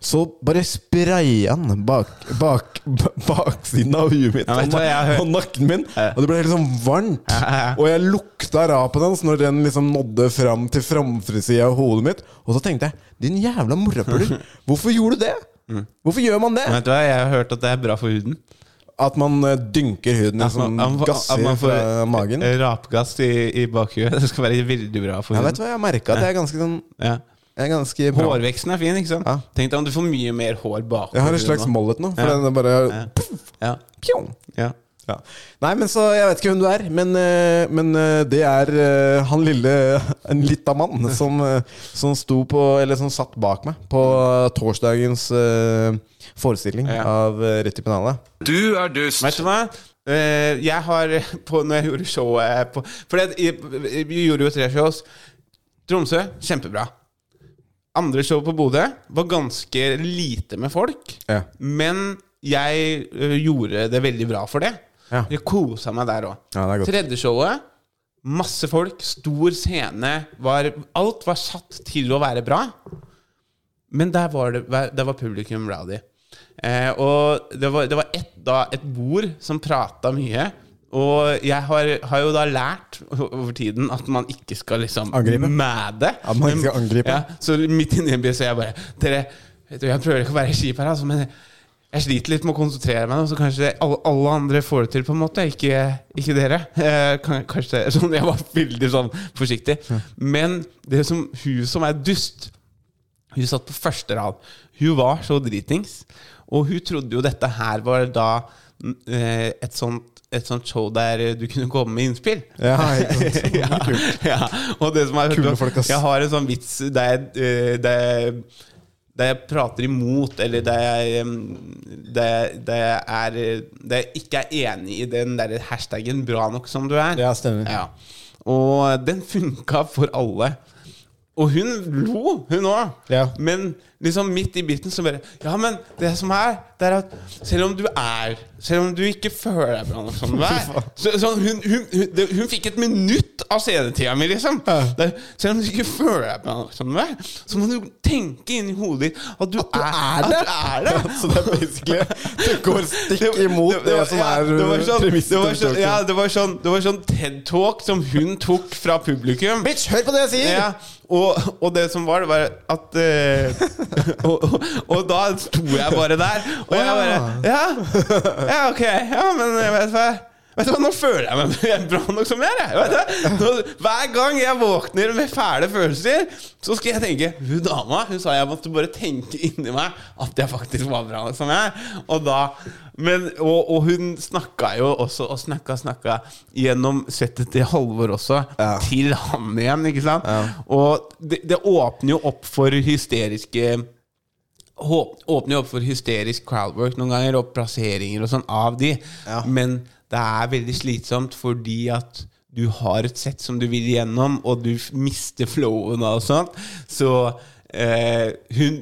Speaker 3: så bare spraya han bak, bak, ba- baksiden av huet mitt
Speaker 2: Ja, vet
Speaker 3: og,
Speaker 2: du hva, jeg
Speaker 3: na-
Speaker 2: hø-
Speaker 3: og nakken min. Og det ble helt sånn varmt.
Speaker 2: ja, ja.
Speaker 3: Og jeg lukta rapen hans når den liksom nådde fram til framfrisida av hodet mitt. Og så tenkte jeg Din jævla morapuler, hvorfor gjorde du det?
Speaker 2: Mm.
Speaker 3: Hvorfor gjør man det?
Speaker 2: Vet du hva, jeg har hørt at det er bra for huden.
Speaker 3: At man eh, dynker huden med
Speaker 2: At man,
Speaker 3: sånn
Speaker 2: at man- at
Speaker 3: gasser
Speaker 2: man får eh,
Speaker 3: fra magen.
Speaker 2: rapgass i, i bakhuet. Det skal være veldig bra for
Speaker 3: Jeg
Speaker 2: huden.
Speaker 3: vet hva, jeg merka at jeg er ganske sånn
Speaker 2: Ja.
Speaker 3: jeg er ganske bra.
Speaker 2: Hårveksten er fin, ikke sant?
Speaker 3: Ja.
Speaker 2: Tenk deg om du får mye mer hår bakpå.
Speaker 3: Jeg har en slags
Speaker 2: huden nå.
Speaker 3: mollet nå, for
Speaker 2: Ja.
Speaker 3: den er bare
Speaker 2: Ja.
Speaker 3: Puff,
Speaker 2: Ja.
Speaker 3: pjong.
Speaker 2: Ja.
Speaker 3: Ja. Nei, men så Jeg vet ikke hvem du er, men, eh, men eh, det er eh, han lille En lita mann som, eh, som sto på Eller som satt bak meg på torsdagens eh, forestilling
Speaker 2: Ja.
Speaker 3: av eh, Rett i pennalet.
Speaker 8: Du er dust.
Speaker 2: Vet du hva? Eh, jeg har på, Når jeg gjorde showet eh, på For det- jeg- vi gjorde jo tre shows. Tromsø, kjempebra. Andre show på Bodø var ganske lite med folk.
Speaker 3: Ja.
Speaker 2: Men jeg ø, gjorde det veldig bra for det.
Speaker 3: Ja.
Speaker 2: Jeg kosa meg der òg.
Speaker 3: Ja, det er godt.
Speaker 2: Tredje showet, masse folk, stor scene. Var, alt var satt til å være bra. Men der var, det, der var publikum rowdy. Eh, og det var, det var et, da, et bord som prata mye. Og jeg har, har jo da lært over tiden at man ikke skal liksom
Speaker 3: Angripe.
Speaker 2: mæde.
Speaker 3: At man ikke skal angripe.
Speaker 2: Ja, så midt inni en by så jeg bare Dere, vet du, jeg prøver ikke å være kjip her, altså, men jeg sliter litt med å konsentrere meg nå, så kanskje det- alle, alle andre får det til, på en måte. Ikke, ikke dere. Eh, kan, kanskje det- sånn, Jeg var veldig sånn forsiktig. Men det som, hun som er dust Hun satt på første rad. Hun var så dritings. Og hun trodde jo dette her var da mm, eh, et sånt, et sånt show der eh, du kunne komme med innspill
Speaker 3: Ja, ikke sant?
Speaker 2: ja, ja. Og det som er
Speaker 3: Kule folk, ass.
Speaker 2: Jeg har en sånn vits der jeg, eh, der jeg, der jeg prater imot, eller der jeg, em, der, jeg- der, jeg er, eh, der jeg ikke er enig i den der hashtaggen 'bra nok som du er'.
Speaker 3: Ja, stemmer.
Speaker 2: Ja. Og den funka for alle. Og hun lo, hun òg.
Speaker 3: Ja.
Speaker 2: Men liksom midt i biten så bare Ja, men det som er, det er at selv om du er Selv om du ikke føler deg bra nok som du er så, så hun, hun, hun, det, hun fikk et minutt av scenetida mi, liksom. Det, selv om du ikke føler deg bra nok som du er, så må du tenke inni hodet ditt at du, er,
Speaker 3: det.
Speaker 2: At du er det.
Speaker 3: Så det er basically Du går stikk imot det,
Speaker 2: var-
Speaker 3: som
Speaker 2: ja,
Speaker 3: er
Speaker 2: det var sånn,
Speaker 3: premisset.
Speaker 2: det var
Speaker 3: til
Speaker 2: sånn,
Speaker 3: talken.
Speaker 2: ja, det var sånn, det var sånn TED-talk som hun tok fra publikum.
Speaker 3: Bitch, hør på det jeg sier!
Speaker 2: Ja, og, og det som var, det var at eh, og, og, og da sto jeg bare der, og jeg bare Ja, ja ok. Ja, men jeg vet du hva Vet du hva, Nå føler jeg meg jeg er bra nok som jeg er. jeg, Vet du? Nå, hver gang jeg våkner med fæle følelser, så skal jeg tenke Hun dama hun sa jeg måtte bare tenke inni meg at jeg faktisk var bra nok som jeg er. Og da men, og, og hun snakka jo også, og snakka, snakka gjennom settet til Halvor også,
Speaker 3: Ja.
Speaker 2: til han igjen, ikke sant? Og det, det åpner jo opp for hysteriske håp- Åpner jo opp for hysterisk crowdwork noen ganger, og plasseringer og sånn av de.
Speaker 3: Ja.
Speaker 2: Men det er veldig slitsomt fordi at du har et sett som du vil igjennom, og du f- mister flowen og sånt. Så eh, hun,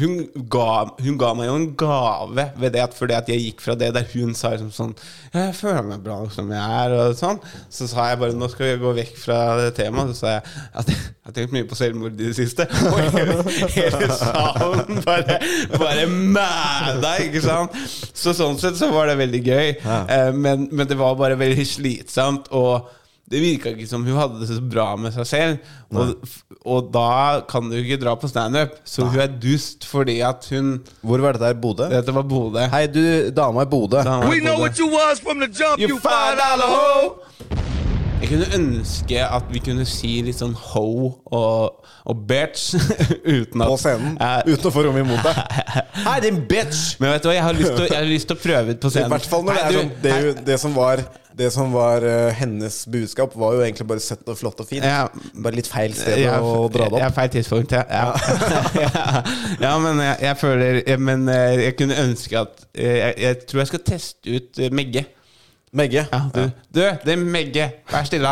Speaker 2: hun, ga, hun ga meg jo en gave ved det, at fordi at jeg gikk fra det der hun sa liksom sånn Jeg føler meg bra nok som jeg er, og sånn. Så sa jeg bare nå skal vi gå vekk fra det temaet. Så sa jeg at jeg har tenkt mye på selvmord i det siste. Og hele, hele salen bare, bare mæda, ikke sant? Så sånn sett så var det veldig gøy. Eh, Men, men det var bare veldig slitsomt. Og det virka ikke som hun hadde det så bra med seg selv. Og, og da kan du ikke dra på standup, så hun er dust fordi at hun
Speaker 3: Hvor var dette her? Bodø?
Speaker 2: Dette var Bodø.
Speaker 3: Hei, du dama i Bodø.
Speaker 2: Da var det Bodø.
Speaker 8: you was from the jump,
Speaker 2: You five dollar hoe! Jeg kunne ønske at vi kunne si litt sånn ho og, og bitch uten at
Speaker 3: På scenen.
Speaker 2: Ja.
Speaker 3: Uten å få rommet imot deg. Hei, din bitch!
Speaker 2: Men vet du hva, jeg har lyst til å- jeg har lyst til å prøve ut på
Speaker 3: I
Speaker 2: scenen.
Speaker 3: hvert fall når det
Speaker 2: Hei,
Speaker 3: er
Speaker 2: du,
Speaker 3: sånn Det, er
Speaker 2: hei.
Speaker 3: jo, det som var, det som var eh, hennes budskap, var jo egentlig bare søtt og flott og fint.
Speaker 2: Ja.
Speaker 3: Bare litt feil sted
Speaker 2: Jeg er-
Speaker 3: å dra det
Speaker 2: Jeg er
Speaker 3: opp.
Speaker 2: feil tidspunkt, ja. Ja, ja men jeg, jeg føler jeg, Men eh, jeg kunne ønske at eh, jeg, jeg tror jeg skal teste ut eh, Megge.
Speaker 3: Megge.
Speaker 2: Ja, du, du, det er Megge. Vær stille.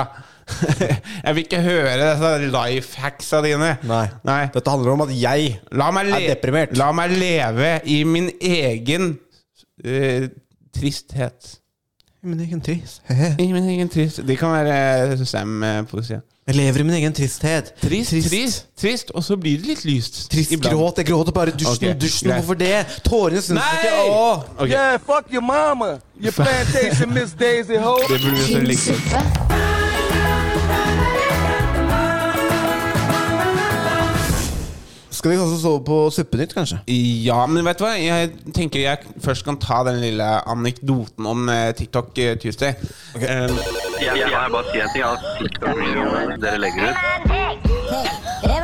Speaker 2: Jeg vil ikke høre disse life hacksa dine.
Speaker 3: Nei.
Speaker 2: Nei.
Speaker 3: Dette handler om at jeg
Speaker 2: La meg, le
Speaker 3: Er deprimert.
Speaker 2: La meg leve i min egen eh, tristhet.
Speaker 3: i min egen trist.
Speaker 2: I min egen trist De kan være eh, Sam-poesi.
Speaker 3: Jeg lever i min egen tristhet.
Speaker 2: Trist, trist, trist, og så blir det litt lyst.
Speaker 3: Trist
Speaker 2: iblant.
Speaker 3: gråt. Jeg gråter bare i dusjen.
Speaker 2: Ok,
Speaker 3: dusjen,
Speaker 2: greit.
Speaker 3: Hvorfor det? Tårene syns
Speaker 2: Nei!
Speaker 3: ikke Åh.
Speaker 2: Ok,
Speaker 8: Yeah, fuck your mama. Your plantation, Miss Daisy Ho.
Speaker 2: Det burde vi også
Speaker 7: tynn
Speaker 2: like.
Speaker 7: suppe,
Speaker 3: Skal vi kanskje sove på Suppenytt, kanskje?
Speaker 2: Ja, men vet du hva? Jeg tenker jeg først kan ta den lille anekdoten om eh, TikTok eh, Tuesday. Eh,
Speaker 9: Jeg, jeg har bare si en ting. Altså, TikTok-videoene dere legger ut
Speaker 2: Tuesday,
Speaker 9: Jeg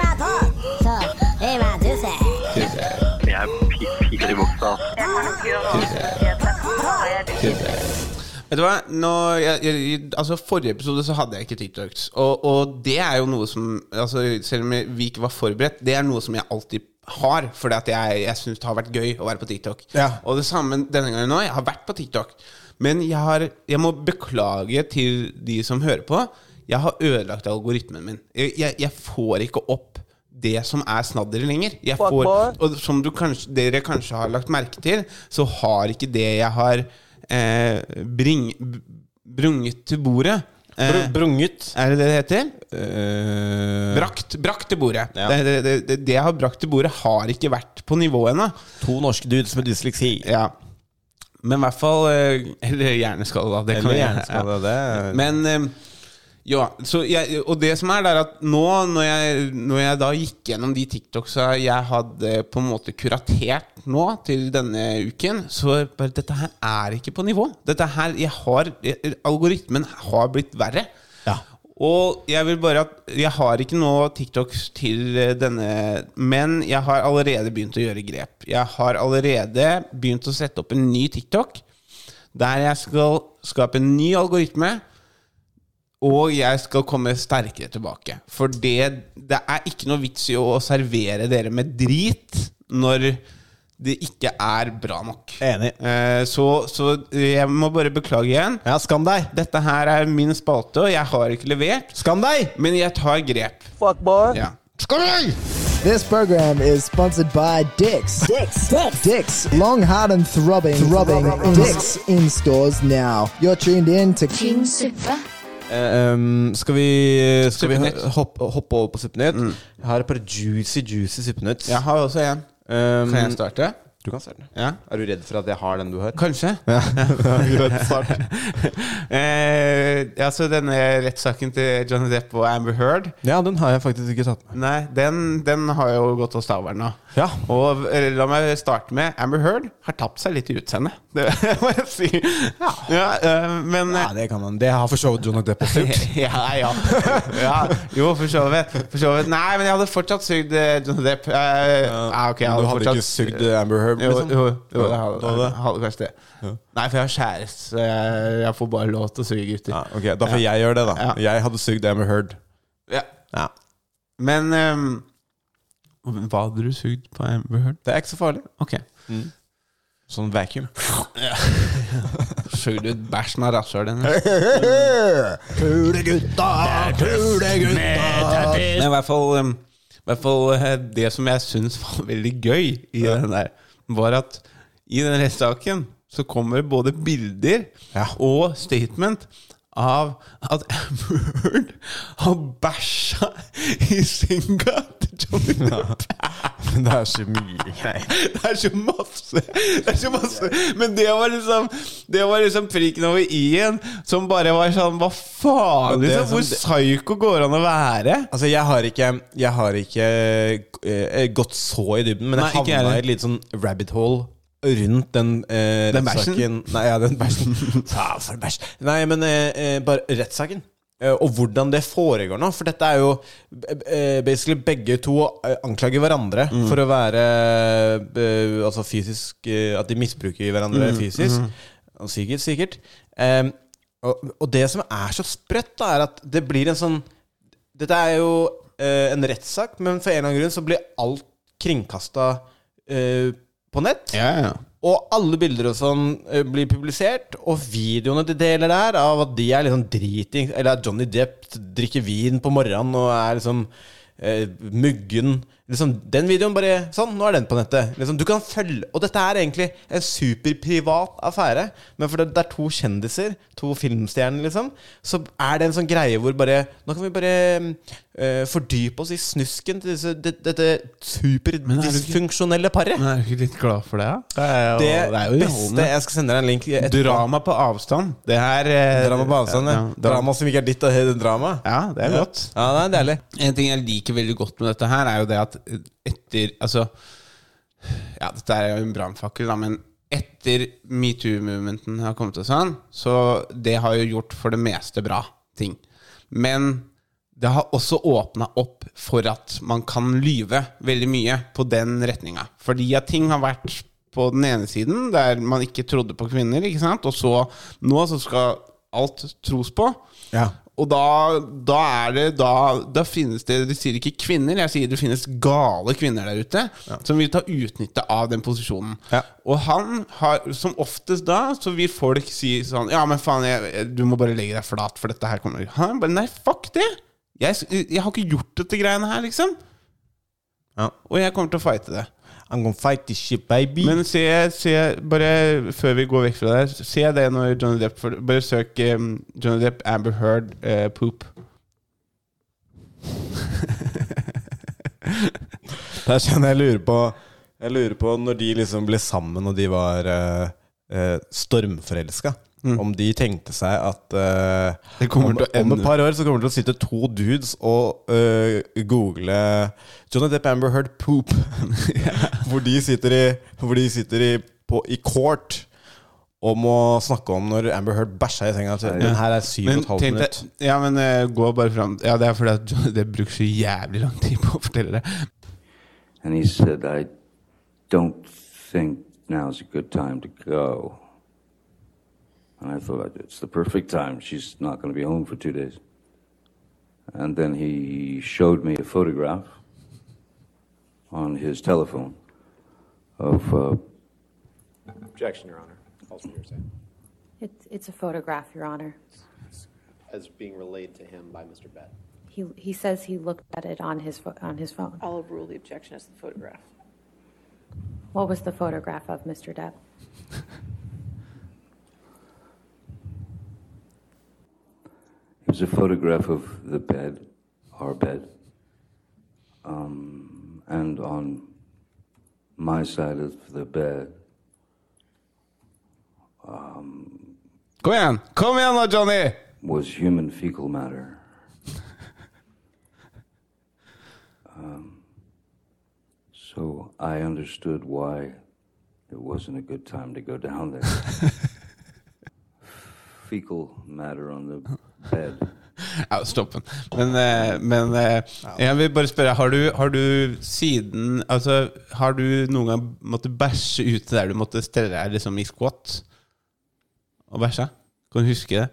Speaker 9: pi- pisser er i buksa. altså.
Speaker 2: Tuesday, Tuesday. Vet du hva? Nå, jeg, jeg, jeg- altså forrige episode så hadde jeg ikke TikToks. Og, og det er jo noe som altså, Selv om jeg- vi ikke var forberedt, det er noe som jeg alltid har. Fordi at jeg, jeg syns det har vært gøy å være på TikTok.
Speaker 3: Ja.
Speaker 2: Og det samme denne gangen nå. Jeg har vært på TikTok. Men jeg, har, jeg må beklage til de som hører på. Jeg har ødelagt algoritmen min. Jeg, jeg, jeg får ikke opp det som er snadderet lenger. Jeg får, og som du kanskje, dere kanskje har lagt merke til, så har ikke det jeg har eh, bring, b- brunget til bordet eh,
Speaker 3: brunget.
Speaker 2: Er det det det heter?
Speaker 3: Eh,
Speaker 2: Brakt, brakt til bordet.
Speaker 3: Ja.
Speaker 2: Det, det, det, det, det jeg har brakt til bordet, har ikke vært på nivå ennå.
Speaker 3: to norske dudes med dysleksi.
Speaker 2: Ja. Men i hvert fall eh, Eller hjerneskade, da. Det kan
Speaker 3: Eller
Speaker 2: jeg-
Speaker 3: hjerneskade.
Speaker 2: ja.
Speaker 3: Det er-
Speaker 2: Men eh, ja, så jeg, og det som er, det er at nå når jeg, når jeg da gikk gjennom de TikToksa jeg hadde på en måte kuratert nå til denne uken, så bare dette her er ikke på nivå. Dette her, jeg har, jeg, Algoritmen har blitt verre.
Speaker 3: Ja.
Speaker 2: Og jeg vil bare at Jeg har ikke nå TikToks til eh, denne, men jeg har allerede begynt å gjøre grep. Jeg har allerede begynt å sette opp en ny TikTok, der jeg skal skape en ny algoritme. Og jeg skal komme sterkere tilbake. For det, det er ikke noe vits i å servere dere med drit når det ikke er bra nok.
Speaker 3: Enig.
Speaker 2: Eh, Så, så jeg må bare beklage igjen.
Speaker 3: Ja, skam deg!
Speaker 2: Dette her er min spalte, og jeg har ikke levert.
Speaker 3: Skam deg!
Speaker 2: Men jeg tar grep.
Speaker 8: Fuck boy.
Speaker 2: Ja.
Speaker 3: Skam deg!
Speaker 10: This program is sponsored by Dix. Dix. Dix. Dix. Long, hard, and throbbing. Throbbing. Dix in stores now. You're tuned in to
Speaker 7: tynn suppe,
Speaker 3: Eh, um, skal vi, skal vi
Speaker 2: Suppenytt.
Speaker 3: hoppe, hoppe over på Suppenytt? Jeg har et par juicy, juicy Suppenytt.
Speaker 2: Jeg har også en.
Speaker 3: Um,
Speaker 2: Kan jeg starte?
Speaker 3: du kan starte.
Speaker 2: Ja.
Speaker 3: Er du redd for at jeg har den du har?
Speaker 2: Kanskje.
Speaker 3: Greit, start.
Speaker 2: eh, altså denne rettssaken til Johnny Depp og Amber Heard
Speaker 3: Ja, den har jeg faktisk ikke tatt med.
Speaker 2: Nei, den, den har jo gått av stavern nå.
Speaker 3: Ja.
Speaker 2: Og eh, la meg starte med Amber Heard har tapt seg litt i utseendet. Det må jeg si. Ja, eh, men
Speaker 3: Ja, det kan man. Det har for så vidt Johnny Depp også gjort.
Speaker 2: ja, ja. ja. Jo, for så vidt. For så vidt. Nei, men jeg hadde fortsatt sugd eh, Johnny Depp. Eh, ja, ok, jeg
Speaker 3: Men
Speaker 2: hadde
Speaker 3: du hadde
Speaker 2: fortsatt-
Speaker 3: ikke sugd eh, Amber Heard?
Speaker 2: Jo,
Speaker 3: Liksom.
Speaker 2: jo, jo jeg
Speaker 3: Du hadde
Speaker 2: hadde,
Speaker 3: det?
Speaker 2: hadde kanskje det. Nei, for jeg har kjæreste, så jeg, jeg får bare lov til å suge gutter.
Speaker 3: Ja, ok, Da får jeg gjøre det, da.
Speaker 2: Ja.
Speaker 3: Jeg hadde sugd Amber Heard.
Speaker 2: Ja.
Speaker 3: Ja.
Speaker 2: Men ehm, Hva hadde du sugd på Amber Heard?
Speaker 3: Det er ikke så farlig.
Speaker 2: Ok.
Speaker 3: Sånn vacuum.
Speaker 2: Sugd ut bæsjen av rasshølet hennes.
Speaker 10: Kule gutta. Kule gutta.
Speaker 2: Men i hvert fall, um, i hvert fall eh, det som jeg syns var veldig gøy i den der, var at i den rettssaken så kommer det både bilder
Speaker 3: Ja.
Speaker 2: og statement av at Amber Heard har bæsja i senga til Johnny Depp.
Speaker 3: Men det er så mye greier.
Speaker 2: Det er så masse! Det er så masse. Men det var liksom Det var liksom prikken over i-en, som bare var sånn Hva faen?
Speaker 3: Men det er
Speaker 2: Liksom, hvor psyko går det an å være?
Speaker 3: Altså, jeg har ikke, jeg har ikke eh, gått så i dybden, men
Speaker 2: Nei,
Speaker 3: jeg
Speaker 2: ikke jeg
Speaker 3: havna
Speaker 2: heller.
Speaker 3: i et lite sånn rabbit hole rundt den eh,
Speaker 2: Den
Speaker 3: rettssaken. Nei, ja, den bæsjen. Ja, for bæsj. Nei, men eh, eh, bare rettssaken. Eh, og hvordan det foregår nå. For dette er jo eh, basically begge to eh, anklager hverandre
Speaker 2: Mm.
Speaker 3: for å være eh, Altså fysisk eh, At de misbruker
Speaker 2: Mm.
Speaker 3: hverandre fysisk. Og psykisk, sikkert. Eh, og, og det som er så sprøtt, da, er at det blir en sånn dette er jo eh, en rettssak, men for en eller annen grunn så blir alt kringkasta på nett.
Speaker 2: Ja, ja.
Speaker 3: Og alle bilder og sånn eh, blir publisert, og videoene de deler der, av at de er liksom driting Eller at Johnny Depp drikker vin på morgenen og er liksom eh, muggen. Liksom, den videoen bare Sånn, nå er den på nettet. Liksom, du kan følge Og dette er egentlig en superprivat affære, men fordi det er to kjendiser, to filmstjerner, liksom, så er det en sånn greie hvor bare Nå kan vi bare eh, fordype oss i snusken til disse, det, dette
Speaker 2: er du ikke-
Speaker 3: superdysfunksjonelle paret.
Speaker 2: Men er du ikke litt glad for det, da? Det er jo, det
Speaker 3: Det,
Speaker 2: er jo
Speaker 3: beste
Speaker 2: underholdende.
Speaker 3: Jeg skal sende deg en link. etterpå.
Speaker 2: Drama på avstand. Det er eh,
Speaker 3: Drama på avstand.
Speaker 2: ja,
Speaker 3: Ja,
Speaker 2: ja.
Speaker 3: Drama som ikke er ditt, og det er drama.
Speaker 2: Ja, det er godt.
Speaker 3: Ja, det er deilig.
Speaker 2: En ting jeg liker veldig godt med dette her, er jo det at etter Altså, ja, dette er jo en brannfakkel, da, men etter metoo-movementen har kommet og sånn, så det har jo gjort for det meste bra ting. Men det har også åpna opp for at man kan lyve veldig mye på den retninga. Fordi at ting har vært på den ene siden, der man ikke trodde på kvinner, ikke sant? og så nå så skal alt tros på. Og da, da er det da, da finnes det De sier ikke kvinner, jeg sier det finnes gale kvinner der ute som vil ta utnytte av den posisjonen.
Speaker 3: Ja.
Speaker 2: Og han har Som oftest da så vil folk si sånn Ja, men faen, jeg, du må bare legge deg flat, for dette her kommer Han bare Nei, fuck det! Jeg, jeg har ikke gjort dette greiene her, liksom.
Speaker 3: Ja.
Speaker 2: Og jeg kommer til å fighte det.
Speaker 3: I'm gonna fight this shit, baby.
Speaker 2: Men se, se bare før vi går vekk fra det her, se det når Johnny Depp for, Bare søk eh, Johnny Depp, Amber Heard, eh, poop.
Speaker 3: Der kjenner sånn jeg lurer på Jeg lurer på når de liksom ble sammen og de var eh, eh, stormforelska. Om de tenkte seg at eh,
Speaker 2: Det kommer
Speaker 3: om,
Speaker 2: til å
Speaker 3: om
Speaker 2: ende-
Speaker 3: et par år så kommer det til å sitte to dudes og eh, google Johnny Depp Amber Heard poop. hvor de sitter i, hvor de sitter i, på, i court om å snakke om når Amber Heard bæsja i senga. Så, Den her er syv og
Speaker 2: Men
Speaker 3: et halvt
Speaker 2: tenk deg-
Speaker 3: minutt.
Speaker 2: Ja, men eh, gå bare fram Ja, det er fordi at Johnny Depp bruker så jævlig lang tid på å fortelle det.
Speaker 9: And he said, I don't think now's a good time to go. And I thought, it's the perfect time. She's not going to be home for two days. And then he showed me a photograph on his telephone of. Uh,
Speaker 11: Objection, Your Honor. Calls from hearsay.
Speaker 5: It's, it's a photograph, Your Honor.
Speaker 11: As being relayed to him by Mr. Bett.
Speaker 5: He, he says he looked at it on his, pho- on his phone.
Speaker 11: I'll overrule the objection as the photograph.
Speaker 5: What was the photograph of, Mr. Depp?
Speaker 9: It was a photograph of the bed, our bed. Um, and on my side of the bed,
Speaker 2: Kom igjen! Kom igjen da, Johnny!
Speaker 9: was human fecal matter. Um, so I understood why it wasn't a good time to go down there. fecal matter on the bed.
Speaker 2: Ja, stopp den. Men, eh, men eh, jeg vil bare spørre, har du, har du siden Altså, har du noen gang måttet bæsje ute der du måtte stelle deg liksom i squat og bæsja? Kan du huske det?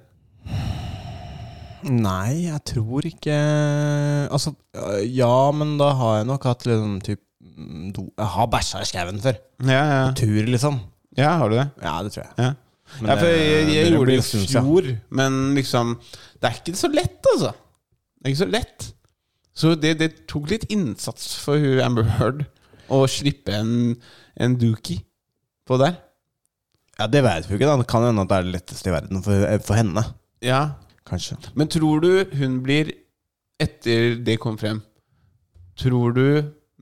Speaker 3: Nei, jeg tror ikke Altså, øh, ja, men da har jeg nok hatt liksom typ mm, do... Jeg har bæsja i skauen før.
Speaker 2: Ja, ja.
Speaker 3: Tur, liksom.
Speaker 2: ja har du det?
Speaker 3: Ja, det tror jeg.
Speaker 2: Ja,
Speaker 3: Men
Speaker 2: ja for
Speaker 3: det-
Speaker 2: jeg, jeg
Speaker 3: det
Speaker 2: gjorde det
Speaker 3: blir
Speaker 2: i
Speaker 3: syns jeg.
Speaker 2: fjor, men liksom Det er ikke så lett, altså. Det er ikke så lett. Så det, det tok litt innsats for hun Amber Heard å slippe en, en dookie på der.
Speaker 3: Ja, Det vet vi ikke. da Det kan hende at det er det letteste i verden for, for henne.
Speaker 2: Ja,
Speaker 3: Kanskje.
Speaker 2: Men tror du hun blir Etter det kom frem Tror du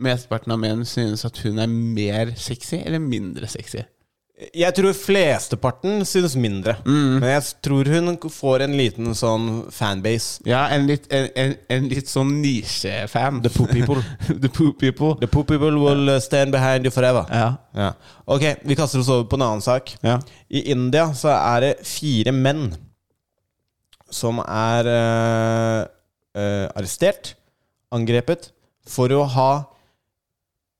Speaker 2: mesteparten av menn synes at hun er mer sexy eller mindre sexy?
Speaker 3: Jeg tror flesteparten syns mindre. Men jeg tror hun får en liten sånn fanbase.
Speaker 2: Ja, en litt, en, en, en litt sånn nisjefan.
Speaker 3: The poop people.
Speaker 2: The poop people.
Speaker 3: The poor people will uh, stand behind you forever.
Speaker 2: Ja.
Speaker 3: Ja. Ok, vi kaster oss over på en annen sak.
Speaker 2: Ja.
Speaker 3: I India så er det fire menn som er eh, eh, arrestert, angrepet, for å ha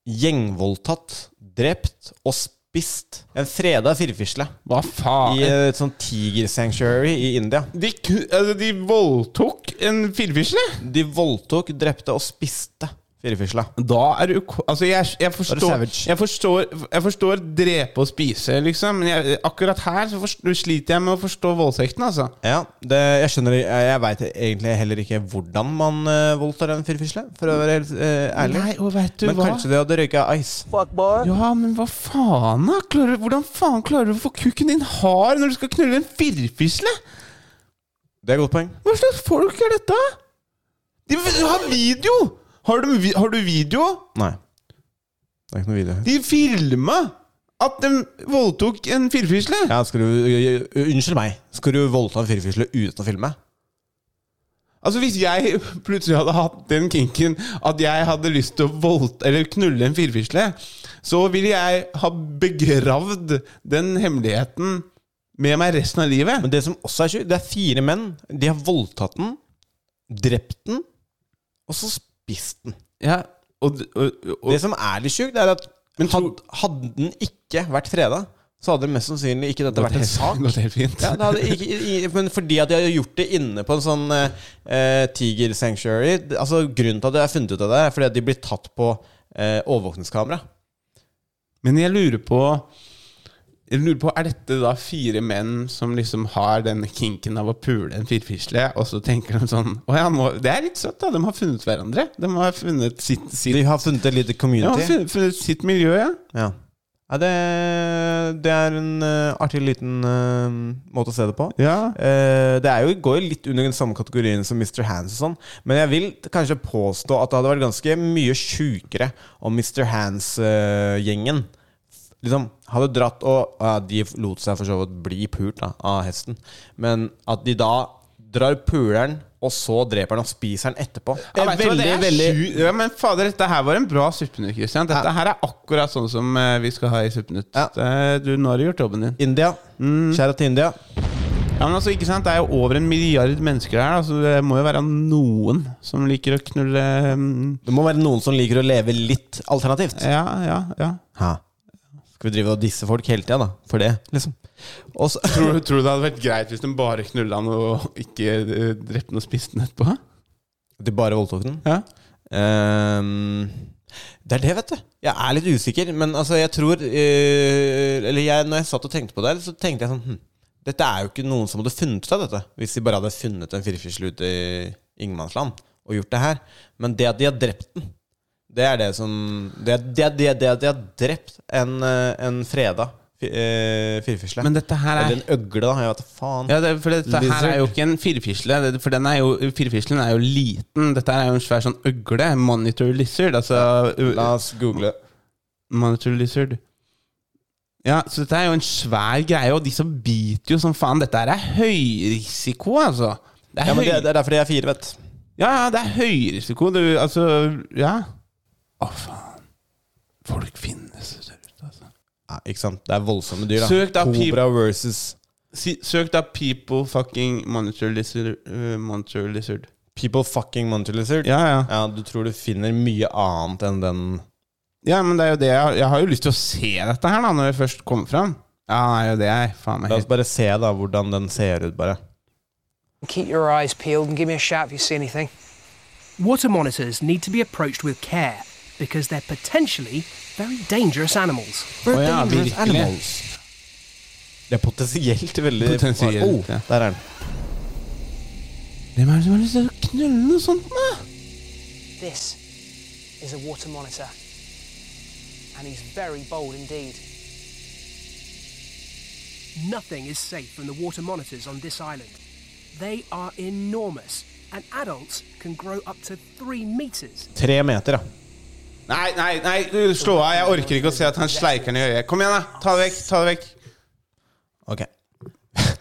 Speaker 3: gjengvoldtatt, drept og spist en freda firfisle
Speaker 2: Hva faen?
Speaker 3: i et sånt tigersanctuary i India.
Speaker 2: De, ku- altså, de voldtok en firfisle?
Speaker 3: De voldtok, drepte og spiste Firefisla.
Speaker 2: Da er du ko- Altså, jeg, jeg, forstår,
Speaker 3: savage.
Speaker 2: jeg, forstår, jeg forstår drepe og spise, liksom, men jeg, akkurat her så forst- sliter jeg med å forstå voldtekten, altså.
Speaker 3: Ja, det, jeg skjønner Jeg veit egentlig heller ikke hvordan man eh, voldtar en firfisle, for å være helt eh, ærlig.
Speaker 2: Nei, og vet du
Speaker 3: Men
Speaker 2: hva?
Speaker 3: kanskje de hadde røyka ice.
Speaker 8: Fuck, boy.
Speaker 2: Ja, men hva faen, da? Klarer, hvordan faen klarer du å få kukken din hard når du skal knulle en firfisle?
Speaker 3: Det er et godt poeng.
Speaker 2: Hva slags folk er dette? De har video! Har du, vi- har du video?
Speaker 3: Nei. Det er ikke noe video.
Speaker 2: De filma at de voldtok en firfisle!
Speaker 3: Ja, skal du, unnskyld meg. Skal du voldta en firfisle uten å filme?
Speaker 2: Altså Hvis jeg plutselig hadde hatt den kinken at jeg hadde lyst til å voldta eller knulle en firfisle, så ville jeg ha begravd den hemmeligheten med meg resten av livet.
Speaker 3: Men det som også er sjukt, det er fire menn. De har voldtatt den, drept den, og så spist den.
Speaker 2: Ja, og, og, og,
Speaker 3: Det som er litt sjukt, er at had, hadde den ikke vært freda, så hadde mest sannsynlig ikke dette vært en sak.
Speaker 2: Gått helt fint.
Speaker 3: Ja, det hadde ikke, i, i- men fordi at de har gjort det inne på en sånn eh, eh, tiger sanctuary d- Altså Grunnen til at jeg har funnet ut av det, er fordi at de blir tatt på eh, overvåkningskamera.
Speaker 2: Men jeg lurer på jeg lurer på, Er dette da fire menn som liksom har denne kinken av å pule en firfisle, og så tenker de sånn Å ja, nå, Det er litt søtt, da. De har funnet hverandre. De har funnet sitt, sitt,
Speaker 3: De har funnet et lite
Speaker 2: ja, de har
Speaker 3: community.
Speaker 2: funnet, funnet sitt miljø, ja.
Speaker 3: Ja, ja det, det er en eh, artig liten eh, måte å se det på.
Speaker 2: ja.
Speaker 3: Eh, det er jo, går jo litt under den samme kategorien som Mr. Hands og sånn, men jeg vil t- kanskje påstå at det hadde vært ganske mye sjukere om Mr. Hands-gjengen liksom hadde dratt og ja, De lot seg for så vidt bli pult da, av hesten, men at de da drar puleren, og så dreper han og spiser han etterpå.
Speaker 2: Ja,
Speaker 3: Eh,
Speaker 2: vet du hva, det er sju- ja, men fader, dette her var en bra suppenytt, Christian. Dette her er akkurat sånn som eh, vi skal ha i suppenytt.
Speaker 3: Ja.
Speaker 2: Det- Du, nå har du gjort jobben din.
Speaker 3: India.
Speaker 2: Mm.
Speaker 3: Kjære til India.
Speaker 2: Ja, men altså, ikke sant? Det er jo over en milliard mennesker her, altså det må jo være noen som liker å knulle mm,
Speaker 3: Det må være noen som liker å leve litt alternativt.
Speaker 2: Ja, ja, ja.
Speaker 3: Hæ? Skal vi drive og disse folk hele tida, da? For det, liksom. Og så-
Speaker 2: Tror, du- tror du det hadde vært greit hvis de bare knulla han og ikke eh, drepte han og spiste han etterpå?
Speaker 3: De bare voldtok den?
Speaker 2: Ja.
Speaker 3: Ehm, det er det, vet du. Jeg er litt usikker, men altså, jeg tror eh, Eller jeg, når jeg satt og tenkte på det, her, så tenkte jeg sånn hm, Dette er jo ikke noen som hadde funnet ut av dette, hvis de bare hadde funnet en firfisle ute i ingenmannsland og gjort det her. Men det at de har drept den, det er det som Det, er- det, er- det, er- det er at de har drept en, eh, en freda fi- eh, firfisle.
Speaker 2: Men dette her er
Speaker 3: Eller en øgle, da. Jeg vet da faen.
Speaker 2: Ja, det, for dette her
Speaker 3: Lizard.
Speaker 2: er jo ikke en firfisle. det- For den er jo, firfislen er jo liten. Dette her er jo en svær sånn øgle. Monitor lizard. Altså
Speaker 3: La oss google.
Speaker 2: Monitor lizard. Ja, så dette er jo en svær greie, og de som biter jo som faen. Dette her er høyrisiko, altså. Det er
Speaker 3: Ja, men det,
Speaker 2: høy-
Speaker 3: det er derfor de er fire, vet du.
Speaker 2: ja, ja, det er høyrisiko. Du, altså, ja. Å, faen. Folk finnes der ute, altså.
Speaker 3: Ja, ikke sant? Det er voldsomme dyr, da.
Speaker 2: Søk da, pip.
Speaker 3: Kobra versus
Speaker 2: Si, søk da 'people fucking monitor lizard'. eh, monitor lizard.
Speaker 3: People fucking monitor lizard.
Speaker 2: Ja, ja.
Speaker 3: Ja, du tror du finner mye annet enn den
Speaker 2: Ja, men det er jo det jeg, har- jeg har jo lyst til å se dette her, da, når jeg først kommer fram. Ja, det er jo det jeg faen meg
Speaker 3: La oss bare se da hvordan den ser ut, bare.
Speaker 4: Keep your eyes peeled and give me a shout if you see anything.
Speaker 12: Water monitors need to be approached with care because they're potentially very dangerous animals.
Speaker 2: Å ja, virkelig.
Speaker 3: Det er potensielt veldig
Speaker 2: Potensielt,
Speaker 3: oh,
Speaker 2: ja.
Speaker 3: Der er den.
Speaker 2: Hvem er det som har lyst til å knulle noe sånt, da?
Speaker 12: This is a water monitor, and he's very bold indeed. Nothing is safe from the water monitors on this island. They are enormous, and adults can grow up to three meters.
Speaker 3: Tre meter, da.
Speaker 2: Nei, nei, nei, du, slå av. Jeg orker ikke å se at han sleiker den i øyet. Kom igjen, da. Ta det vekk. ta Det vekk
Speaker 3: Ok.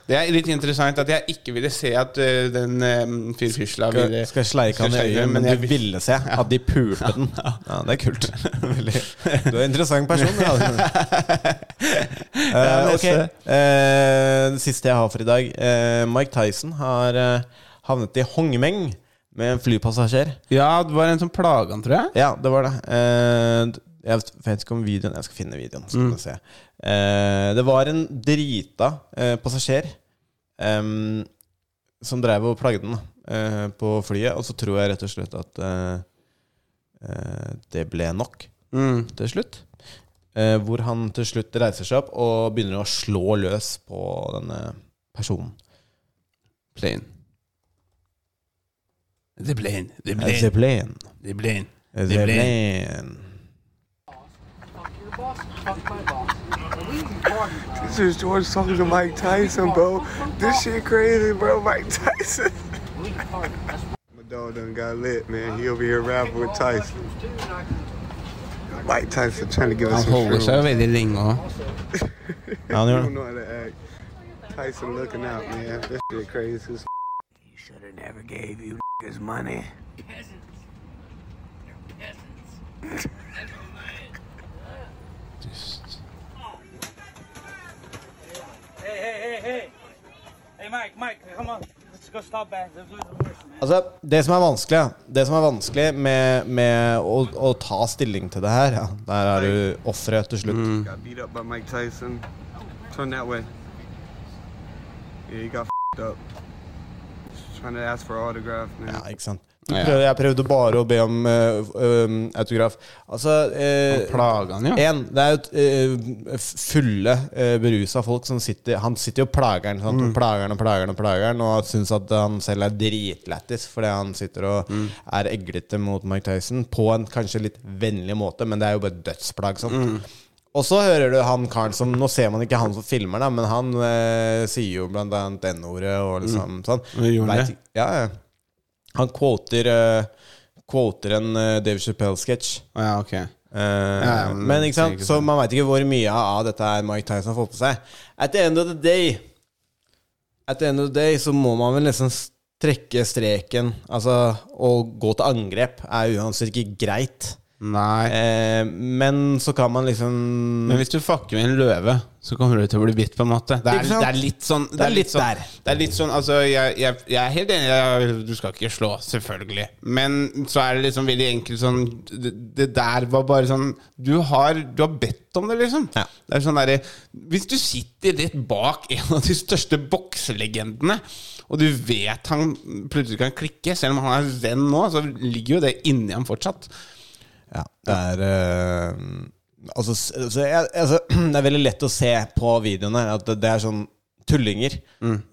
Speaker 2: Det er litt interessant at jeg ikke ville se at ø, den um, firfisla
Speaker 3: Skal,
Speaker 2: ville
Speaker 3: skal jeg sleike han i
Speaker 2: skal sleike
Speaker 3: øyet,
Speaker 2: den,
Speaker 3: men
Speaker 2: jeg
Speaker 3: du
Speaker 2: vil-
Speaker 3: ville se at de pulte den. Ja, det er kult. Veldig. Du er en interessant person. Ja. Eh, ok.
Speaker 2: neste.
Speaker 3: Eh, det siste jeg har for i dag. Eh, Mike Tyson har eh, havnet i Hongmeng med en flypassasjer.
Speaker 2: Ja, det var en som plaga han, tror jeg.
Speaker 3: Ja, det var det. Eh, d- jeg vet- vet ikke om videoen Jeg skal finne videoen. Så skal vi se. Eh, det var en drita eh, passasjer em, som drev og plagde den da, eh, på flyet. Og så tror jeg rett og slett at eh, eh, det ble nok til slutt. Eh, hvor han til slutt reiser seg opp og begynner å slå løs på denne personen.
Speaker 2: Plane. The plane. The
Speaker 3: Eh, The plane.
Speaker 2: The plane.
Speaker 3: The
Speaker 2: The
Speaker 3: plane.
Speaker 8: This is George talking to Mike Tyson, bro. This shit crazy, bro. Mike Tyson. My dog done got lit, man. He over here rapping with Tyson. Mike Tyson trying to give us
Speaker 2: Han
Speaker 8: some
Speaker 2: holder
Speaker 8: shrooms.
Speaker 2: seg jo veldig lenge òg.
Speaker 3: Ja, han
Speaker 8: You
Speaker 3: gjør
Speaker 8: don't
Speaker 3: det.
Speaker 8: know how to act. Tyson looking out, man. This shit crazy as
Speaker 13: He should have never gave you his money. Peasants. They're peasants.
Speaker 14: Hey, hey, hey, hey. Hey, Mike, Mike, come on. Let's go stop back. Let's do the worst.
Speaker 3: Altså, det som er vanskelig, ja. det som er vanskelig med, med å, å ta stilling til det her, ja. der er du offeret til slutt.
Speaker 8: Got beat up by Mike Tyson. Turn that way. Yeah, he got fed up. Just trying to ask for autograph, man.
Speaker 3: Ja, ikke sant. Du
Speaker 8: Ja, ja.
Speaker 3: prøvde, jeg prøvde bare å be om eh, f- um, autograf. Altså eh, En, det er jo et, eh, f- fulle, uh, berusa folk som sitter Han sitter jo og plager han. sant?
Speaker 2: Mm.
Speaker 3: Og plager han og plager han og plager han, og syns at han selv er dritlættis fordi han sitter og
Speaker 2: Mm.
Speaker 3: er eglete mot Mike Tyson på en kanskje litt vennlig måte, men det er jo bare dødsplagsomt.
Speaker 2: Mm.
Speaker 3: Og så hører du han karen som Nå ser man ikke han som filmer, da, men han eh, sier jo blant annet N-ordet og liksom sånn.
Speaker 2: Men gjorde han
Speaker 3: Vet-
Speaker 2: Mm. det?
Speaker 3: Ja, ja. Han quoter, eh, quoter en eh, Dave Chappelle-sketsj.
Speaker 2: Ja, ok.
Speaker 3: Eh,
Speaker 2: Ja, men-
Speaker 3: men ikke sant,
Speaker 2: ikke
Speaker 3: så man veit ikke hvor mye av dette er Mike Tyson har fått på seg. At the end of the day At the end of the day så må man vel nesten s- trekke streken. Altså, å gå til angrep er uansett ikke greit. Eh,
Speaker 2: Nei.
Speaker 3: men så kan man liksom
Speaker 2: Men hvis du fucker med en løve, så kommer du til å bli bitt, på en måte. Det er,
Speaker 3: Ikke sant?
Speaker 2: det er litt sånn
Speaker 3: Det er litt
Speaker 2: sånn,
Speaker 3: der.
Speaker 2: Det er litt sånn, altså jeg, jeg, jeg er helt enig, jeg, du skal ikke slå, selvfølgelig. Men så er det liksom veldig enkelt sånn Det, det der var bare sånn Du har, du har bedt om det, liksom. Det er sånn derre Hvis du sitter rett bak en av de største bokselegendene, og du vet han plutselig kan klikke, selv om han er venn nå, så ligger jo det inni ham fortsatt.
Speaker 3: Ja, det er eh, altså, s- altså, jeg, altså, Det er veldig lett å se på videoene at det, det er sånn tullinger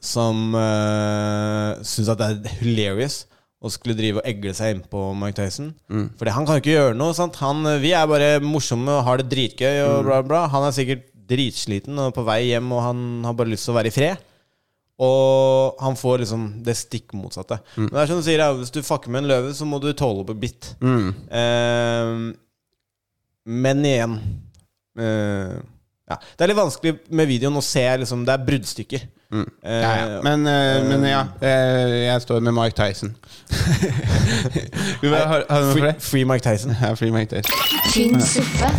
Speaker 3: som uh, syns at det er hilarious å skulle drive og egle seg innpå Mike Tyson. Fordi han kan jo ikke gjøre noe. Sant? Han, eh, vi er bare morsomme og har det dritgøy. Og
Speaker 2: Mm.
Speaker 3: bla, bla. Han er sikkert dritsliten og på vei hjem, og han har bare lyst til å være i fred. Og han får liksom det stikk motsatte.
Speaker 2: Mm.
Speaker 3: Men det er som du sier, ja, Hvis du fucker med en løve, så må du tåle å bli bitt.
Speaker 2: Mm.
Speaker 3: Ehm, men igjen eh, ja. Det er litt vanskelig med videoen å se liksom, Det er bruddstykker.
Speaker 2: Mm. Ja, ja. Men, eh, men ja, eh, jeg står med Mike Tyson. Du, hva- har, har du noe for det?
Speaker 3: Free Mike Tyson.
Speaker 2: Ja, free Mike Tyson.
Speaker 7: Tynn suppe.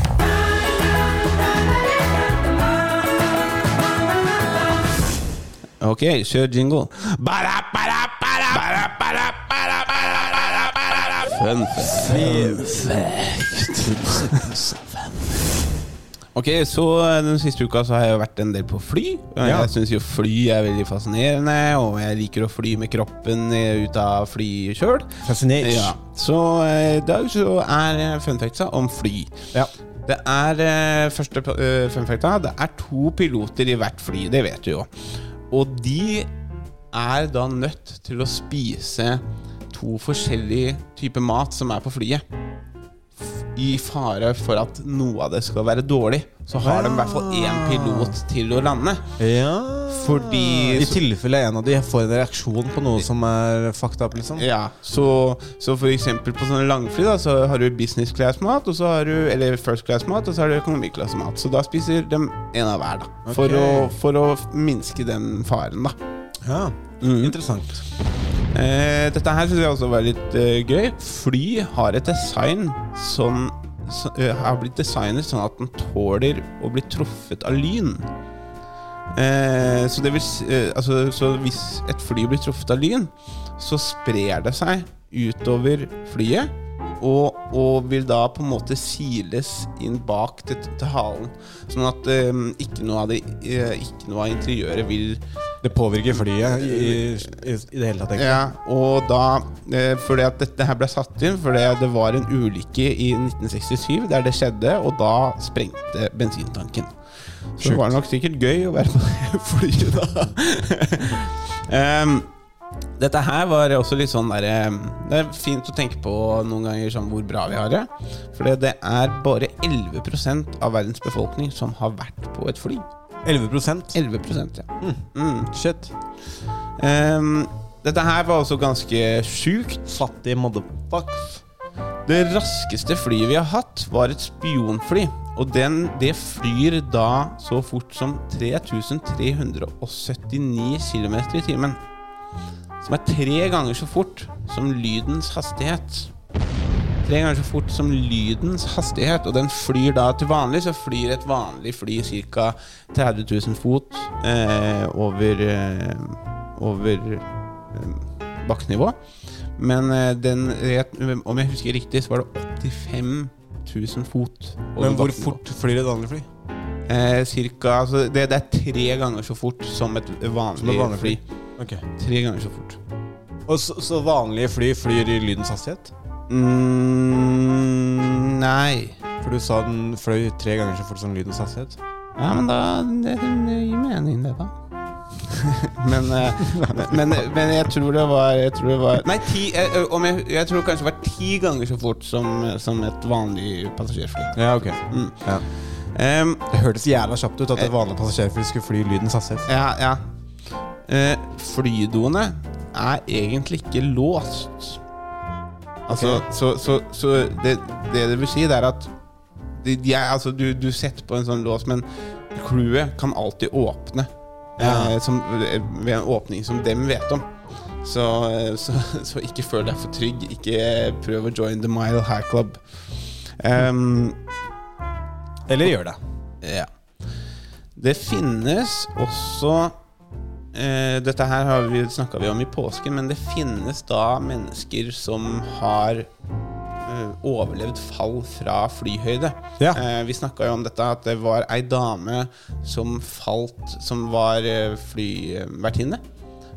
Speaker 2: Ok, kjør jingle. Bara, bara, bara, bara, bara, bara, bara, bara, bara. Fun Ok, så eh, Den siste uka så har jeg jo vært en del på fly. Og
Speaker 3: Ja.
Speaker 2: Jeg syns jo fly er veldig fascinerende, og jeg liker å fly med kroppen eh, ut av flyet sjøl.
Speaker 3: Fascinert.
Speaker 2: Ja. Så eh, i dag så er eh, fun factsa om fly. Det er eh, første eh, fun facta. Det er to piloter i hvert fly, det vet du jo. Og de er da nødt til å spise to forskjellige typer mat som er på flyet. F- I fare for at noe av det skal være dårlig. Så har de i hvert fall én pilot til å lande.
Speaker 3: Ja.
Speaker 2: Fordi
Speaker 3: I tilfelle en av de får en reaksjon på noe som er fucked up, liksom.
Speaker 2: Ja, så, så for eksempel på sånne langfly da, så har du business class mat, og så har du, eller first class mat, og så har du økonomiklasse mat. Så da spiser de en av hver da, for,
Speaker 3: Ok.
Speaker 2: å, for å minske den faren da.
Speaker 3: Ja, interessant.
Speaker 2: Eh, dette her synes jeg også var litt eh, gøy. Fly har et design som som, eh, har blitt designet sånn at den tåler å bli truffet av lyn. Eh, så, det vil, s- eh, altså, så hvis et fly blir truffet av lyn, så sprer det seg utover flyet. Og, og vil da på en måte siles inn bak til, til halen. Sånn at eh, ikke, noe av det, eh, ikke noe av interiøret vil
Speaker 3: Det påvirker flyet i, i, i det hele tatt. egentlig.
Speaker 2: Ja, og da eh, Fordi at dette her ble satt inn fordi det var en ulykke i 1967 der det skjedde, og da sprengte bensintanken. Så det
Speaker 3: Sjukt.
Speaker 2: var nok sikkert gøy å være på det flyet da. Em, dette her var også litt sånn der em, Det er fint å tenke på noen ganger sånn hvor bra vi har det. For det er bare 11 av verdens befolkning som har vært på et fly.
Speaker 3: 11
Speaker 2: 11 ja. Mm. Shit. Ehm, dette her var også ganske sjukt.
Speaker 3: Fattige motherfucks.
Speaker 2: Det raskeste flyet vi har hatt, var et spionfly. Og den, det flyr da så fort som 3379 km i timen. Som er tre ganger så fort som lydens hastighet. Tre ganger så fort som lydens hastighet. Og den flyr da til vanlig, så flyr et vanlig fly ca. 30 000 fot eh, over, eh, over eh, bakkenivå. Men eh, den rett, om jeg husker riktig, så var det 85 000 fot. over
Speaker 3: Men hvor
Speaker 2: bakkenivå.
Speaker 3: fort flyr et vanlig fly?
Speaker 2: Eh, cirka, altså det, det er tre ganger så fort som et vanlig,
Speaker 3: Som et vanlig fly. Ok.
Speaker 2: Tre ganger så fort.
Speaker 3: Og så, så vanlige fly flyr i lydens hastighet?
Speaker 2: Mm, nei.
Speaker 3: For du sa den fløy tre ganger så fort som lydens hastighet?
Speaker 2: Ja, men da Det, det gir mening, det, da. men, eh, men, men jeg tror det var, jeg tror det var Nei, ti, eh, ø, om jeg, jeg tror kanskje det var ti ganger så fort som, som et vanlig passasjerfly.
Speaker 3: Ja, ok.
Speaker 2: Mm.
Speaker 3: Ja.
Speaker 2: Em,
Speaker 3: Det hørtes jævla kjapt ut at
Speaker 2: Eh.
Speaker 3: et vanlig passasjerfly skulle fly i lydens hastighet.
Speaker 2: ja, ja. Eh, flydoene er egentlig ikke låst. Altså,
Speaker 3: Ok.
Speaker 2: Så, så, så det, det det vil si, det er at de, de er, altså, du, du setter på en sånn lås, men clouet kan alltid åpne.
Speaker 3: Ja.
Speaker 2: Eh, som, ved en åpning som dem vet om. Så, eh, så, så ikke føl deg for trygg. Ikke prøv å join the Mile High Club. Ehm,
Speaker 3: Eller gjør det.
Speaker 2: ja. Det finnes også eh, Dette her har vi snakka om i påsken, men det finnes da mennesker som har eh, overlevd fall fra flyhøyde.
Speaker 3: Ja.
Speaker 2: Eh, vi snakka jo om dette at det var ei dame som falt Som var eh, flyvertinne.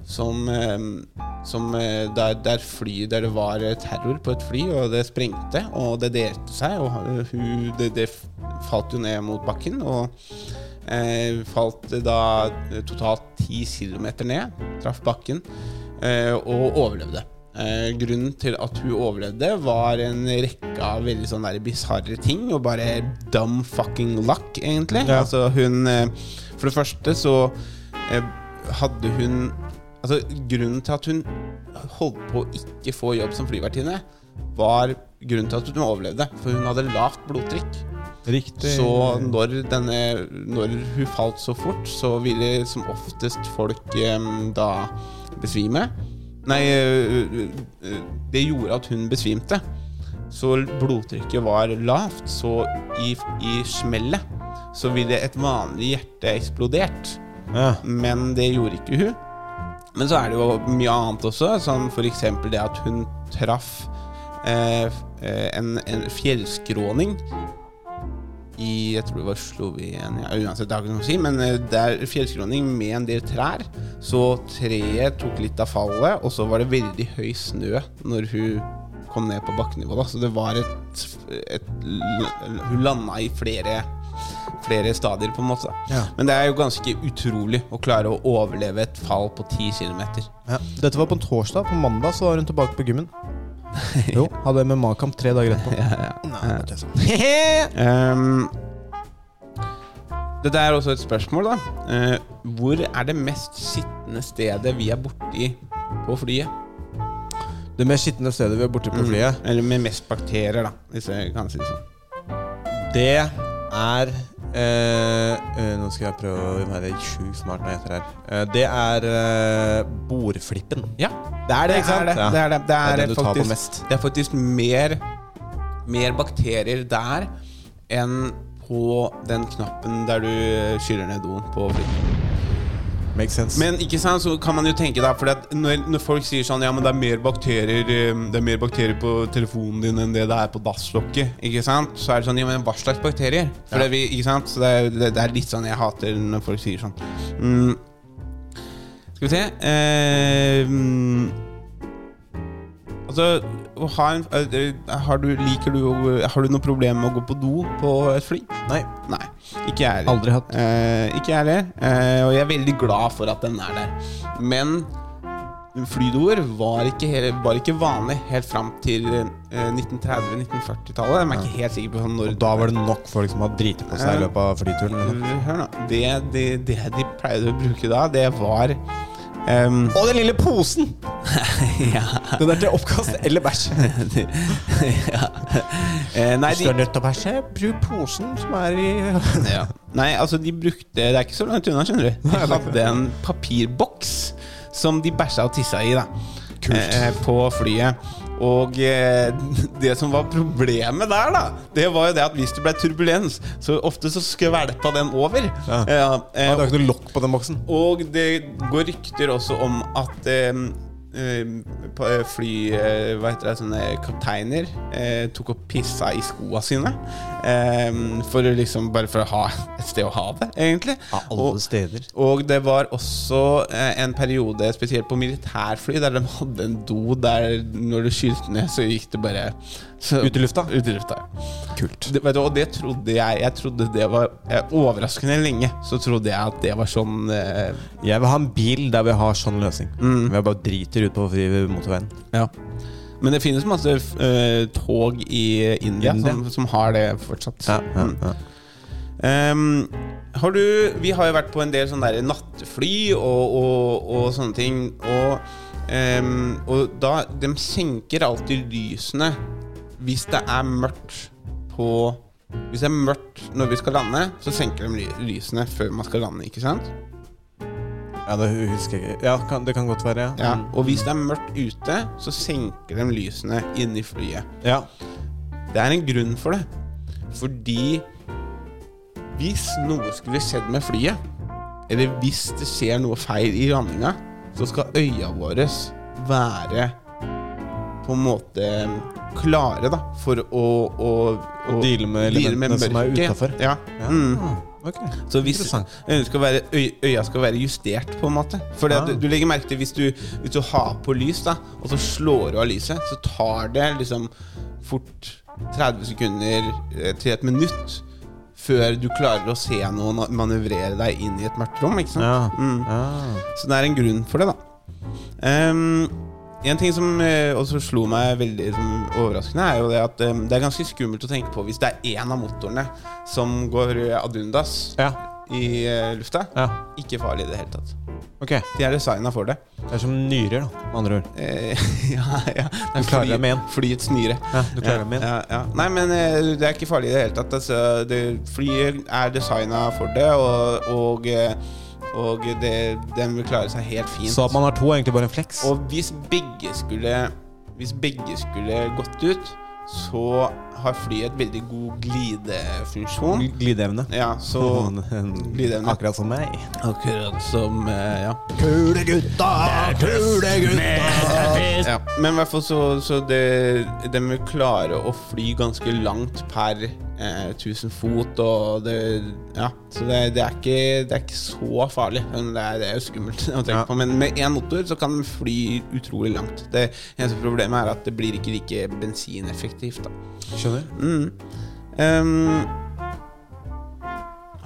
Speaker 2: Som, eh, som eh, der, der, fly, der det var eh, terror på et fly, og det sprengte, og det delte seg, og eh, hun, det, det f- falt jo ned mot bakken, og eh, falt eh, da eh, totalt ti kilometer ned, traff bakken, eh, og overlevde. Eh, grunnen til at hun overlevde, var en rekke av veldig sånn der bisarre ting, og bare dumb fucking luck, egentlig.
Speaker 3: Ja.
Speaker 2: Altså, hun eh, For det første så eh, hadde hun Altså, grunnen til at hun holdt på å ikke få jobb som flyvertinne, var grunnen til at hun overlevde. For hun hadde lavt blodtrykk.
Speaker 3: Riktig.
Speaker 2: Så når, denne, når hun falt så fort, så ville som oftest folk em, da besvime. Nei, ø, ø, ø, det gjorde at hun besvimte. Så blodtrykket var lavt, så i, i smellet så ville et vanlig hjerte eksplodert.
Speaker 3: Ja.
Speaker 2: Men det gjorde ikke hun. Men så er det jo mye annet også, som f.eks. det at hun traff eh, f- eh, en, en fjellskråning i Jeg tror det var Slovenia ja, Uansett, det har ikke noe å si, men eh, det er fjellskråning med en del trær. Så treet tok litt av fallet, og så var det veldig høy snø når hun kom ned på bakkenivå. Da. Så det var et, et l- Hun landa i flere, flere stadier, på en måte. da.
Speaker 3: Ja.
Speaker 2: Men det er jo ganske utrolig å klare å overleve et fall på 10 km.
Speaker 3: Ja. Dette var på en torsdag. På mandag så var hun tilbake på gymmen. Jo, hadde MMA-kamp tre dager etterpå. Nei, det er sånn.
Speaker 2: Um, dette er også et spørsmål, da. Eh, hvor er det mest sittende stedet vi er borti på flyet?
Speaker 3: Det mest skitne stedet vi er borte på
Speaker 2: Mm.
Speaker 3: flyet,
Speaker 2: Eller med mest bakterier, da. Hvis jeg kan si det sånn.
Speaker 3: det er eh, eh, Nå skal jeg prøve å være sjukt smart når jeg heter her. Eh, det er eh, bordflippen.
Speaker 2: Ja,
Speaker 3: Det er det, ikke sant?
Speaker 2: Det
Speaker 3: Ja.
Speaker 2: er det. Det er, det. Det er,
Speaker 3: Det er den du tar på
Speaker 2: faktisk,
Speaker 3: mest.
Speaker 2: Det er faktisk mer, mer bakterier der enn på den knappen der du skyller ned doen på flyet.
Speaker 3: Makes sense.
Speaker 2: Men ikke sant, så kan man jo tenke da Fordi at når, når folk sier sånn Ja, men det er mer bakterier eh, Det er mer bakterier på telefonen din Enn det det er på dasslokket Ikke sant? Så er det sånn Ja, men hva slags bakterier? For det, vi, ikke sant? Så det er, det, det er litt sånn jeg hater Når folk sier sånn mm. Skal vi se eh, mm, Altså, å ha en eh, har du, Liker du å- Har du noe problem med å gå på do på et fly?
Speaker 3: Nei.
Speaker 2: Ikke jeg heller.
Speaker 3: Aldri hatt.
Speaker 2: Eh, ikke jeg heller. Eh, og jeg er veldig glad for at den er der. Men flydoer var ikke, he- var ikke vanlig helt fram til eh, 1930-1940-tallet. Jeg er ikke helt sikker på sånn når
Speaker 3: Og da var det nok folk som hadde driti på seg i løpet av flyturen. eller?
Speaker 2: Hør nå. Det, det, det de pleide å bruke da, det var ehm,
Speaker 3: Og den lille posen!
Speaker 2: ja.
Speaker 3: Den er til oppkast eller bæsj.
Speaker 2: ja. Eh, nei,
Speaker 3: Hvis
Speaker 2: de,
Speaker 3: du er nødt til å bæsje, bruk posen som er i
Speaker 2: ja. nei, altså de brukte Det er ikke så langt unna, skjønner du. De hadde en papirboks som de bæsja og tissa i da Eh, på flyet. Og eh, det som var problemet der, da Det var jo det at hvis det ble turbulens, så ofte så skvelpa den over. Ja. Eh,
Speaker 3: Det er ikke noe lokk på den boksen.
Speaker 2: Og det går rykter også om at em, em, på- eh, fly eh, Hva heter det, sånne kapteiner eh, tok og pissa i skoa sine. em, for å liksom Bare for å ha et sted å ha det, egentlig.
Speaker 3: Av alle
Speaker 2: Og-
Speaker 3: steder.
Speaker 2: og det var også eh, en periode, spesielt på militærfly, der de hadde en do der når du skylte ned, så gikk det bare så,
Speaker 3: Ut i lufta?
Speaker 2: Ut i lufta, ja. Kult. Det, vet du, og det trodde jeg. Jeg trodde det var eh, Overraskende lenge så trodde jeg at det var sånn eh,
Speaker 3: Jeg vil ha en bil der vi har sånn løsning. Vi bare driter ut på fri motorveien.
Speaker 2: Ja. Men det finnes masse f- eh, tog i India,
Speaker 3: India?
Speaker 2: Som, som har det fortsatt.
Speaker 3: Ja, ja,
Speaker 2: Mm.
Speaker 3: ja.
Speaker 2: Ehm, har du Vi har jo vært på en del sånne der nattfly og, og, og sånne ting. Og, ehm, og da De senker alltid lysene hvis det er mørkt på Hvis det er mørkt når vi skal lande, så senker de ly- lysene før man skal lande, ikke sant?
Speaker 3: Ja, det husker jeg ikke. Ja, Mm. kan, det kan godt være.
Speaker 2: Ja, og hvis det er mørkt ute, så senker de lysene inne i flyet.
Speaker 3: Ja.
Speaker 2: Det er en grunn for det. Fordi hvis noe skulle skjedd med flyet, eller hvis det skjer noe feil i landinga, så skal øya våre være på en måte klare da, for å, å, å
Speaker 3: deale med
Speaker 2: deale med
Speaker 3: elementene som er
Speaker 2: mørket.
Speaker 3: utenfor.
Speaker 2: Ja.
Speaker 3: Ja. Ah,
Speaker 2: Mm.
Speaker 3: Ok.
Speaker 2: Så hvis
Speaker 3: Interessant.
Speaker 2: øya skal, være, øy, øya skal være justert, på en måte. For det, at
Speaker 3: Ah.
Speaker 2: du, du legger merke til hvis du, hvis du har på lys, da og så slår du av lyset, så tar det liksom fort 30 sekunder eh, til et minutt før du klarer å se noen og manøvrere deg inn i et mørkt rom. Ikke sant?
Speaker 3: Ja.
Speaker 2: Mm.
Speaker 3: Ah.
Speaker 2: Så det er en grunn for det, da. Ehm, en ting som eh, også slo meg veldig som overraskende, er jo det at eh, det er ganske skummelt å tenke på hvis det er én av motorene som går eh, ad undas i eh, lufta. Ikke farlig i det hele tatt.
Speaker 3: Ok.
Speaker 2: De er designa for det.
Speaker 3: Det er som nyrer, da, med andre ord.
Speaker 2: Eh, ja, ja.
Speaker 3: Du klarer deg med en.
Speaker 2: Flyets nyre.
Speaker 3: Ja, du klarer deg med en.
Speaker 2: Ja, ja. Nei, men eh, det er ikke farlig i det hele tatt. Altså, det, flyet er designa for det, og, og, eh, og det, den vil klare seg helt fint.
Speaker 3: Så at man har to, er egentlig bare en flex.
Speaker 2: Og hvis begge skulle Hvis begge skulle gått ut, så har flyet et veldig god glidefunksjon.
Speaker 3: Glideevne.
Speaker 2: Ja, så Glideevne.
Speaker 3: Akkurat som meg.
Speaker 2: Akkurat som eh, Ja.
Speaker 3: Kulegutta! Kulegutta!
Speaker 2: ja. Men i hvert fall så, så det, de vil klare å fly ganske langt per eh, 1000 fot, og det Ja. Så det, det, er ikke, det er ikke så farlig. Men Det er, det er jo skummelt å tenke
Speaker 3: Ja.
Speaker 2: på. Men med én motor så kan de fly utrolig langt. Det eneste problemet er at det blir ikke like bensineffektivt, da.
Speaker 3: Skjønner.
Speaker 2: Mm. Ehm,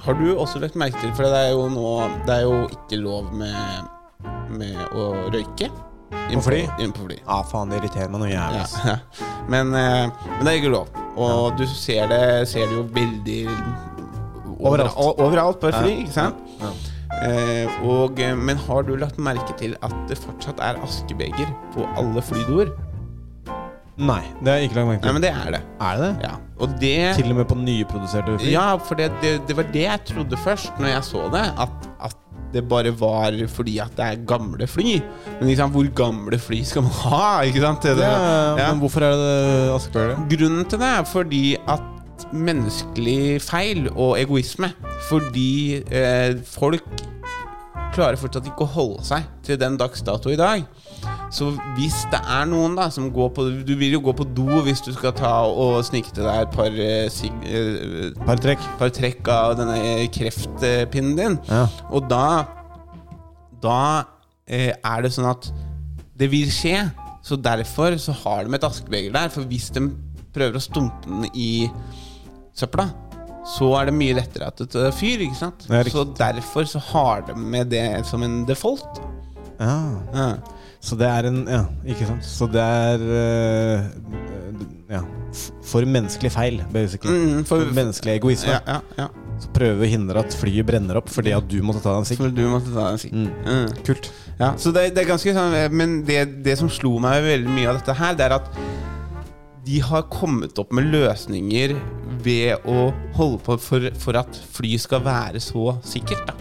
Speaker 2: har du også lagt merke til, for det er jo nå Det er jo ikke lov med, med å røyke
Speaker 3: På fly?
Speaker 2: Inn på fly. Ah,
Speaker 3: Ja, Ah, faen, det irriterer meg noe jævlig.
Speaker 2: Ja.
Speaker 3: ass.
Speaker 2: Men, eh, men det er ikke lov. Og du ser det, ser det jo veldig
Speaker 3: Overalt.
Speaker 2: o- overalt på et fly,
Speaker 3: Ja.
Speaker 2: ikke sant?
Speaker 3: Ja.
Speaker 2: Eh, og, eh, men har du lagt merke til at det fortsatt er askebeger på alle flydoer?
Speaker 3: Nei, det har jeg ikke lagt merke
Speaker 2: Nei,
Speaker 3: til.
Speaker 2: men det er det.
Speaker 3: Er det det?
Speaker 2: Ja. Og det
Speaker 3: Til og med på nyproduserte fly?
Speaker 2: Ja, for det, det, det var det jeg trodde først når jeg så det. At, at det bare var fordi at det er gamle fly. Men ikke sant, hvor gamle fly skal man ha? Ikke sant? Det,
Speaker 3: Det,
Speaker 2: det, ja.
Speaker 3: Men hvorfor er det askebølger?
Speaker 2: Grunnen til det er fordi at menneskelig feil og egoisme Fordi eh, folk klarer fortsatt ikke å holde seg til den dags dato i dag. Så hvis det er noen da som går på Du vil jo gå på do hvis du skal ta og snike til deg et par, eh, sig, eh,
Speaker 3: Par trekk.
Speaker 2: par trekk av denne kreftpinnen din.
Speaker 3: Ja.
Speaker 2: Og da Da eh, er det sånn at det vil skje, så derfor så har de et askebeger der. For hvis de prøver å stumpe den i søpla, så er det mye lettere at det er fyr, ikke sant?
Speaker 3: Ja, riktig.
Speaker 2: så derfor så har de med det som en default.
Speaker 3: Ja. Så det er en Ja, ikke sant. Så det er eh, Ja. f- For menneskelig feil, basically.
Speaker 2: Mm, for-
Speaker 3: for, menneskelig egoisme.
Speaker 2: Ja, ja, ja.
Speaker 3: Så prøve å hindre at flyet brenner opp fordi at du måtte ta deg en sigg.
Speaker 2: For du måtte ta deg en sigg. Mm.
Speaker 3: Kult.
Speaker 2: Ja, så det, det er ganske sånn eh, Men det, det som slo meg veldig mye av dette her, det er at de har kommet opp med løsninger ved å holde på for, for at fly skal være så sikkert. Da.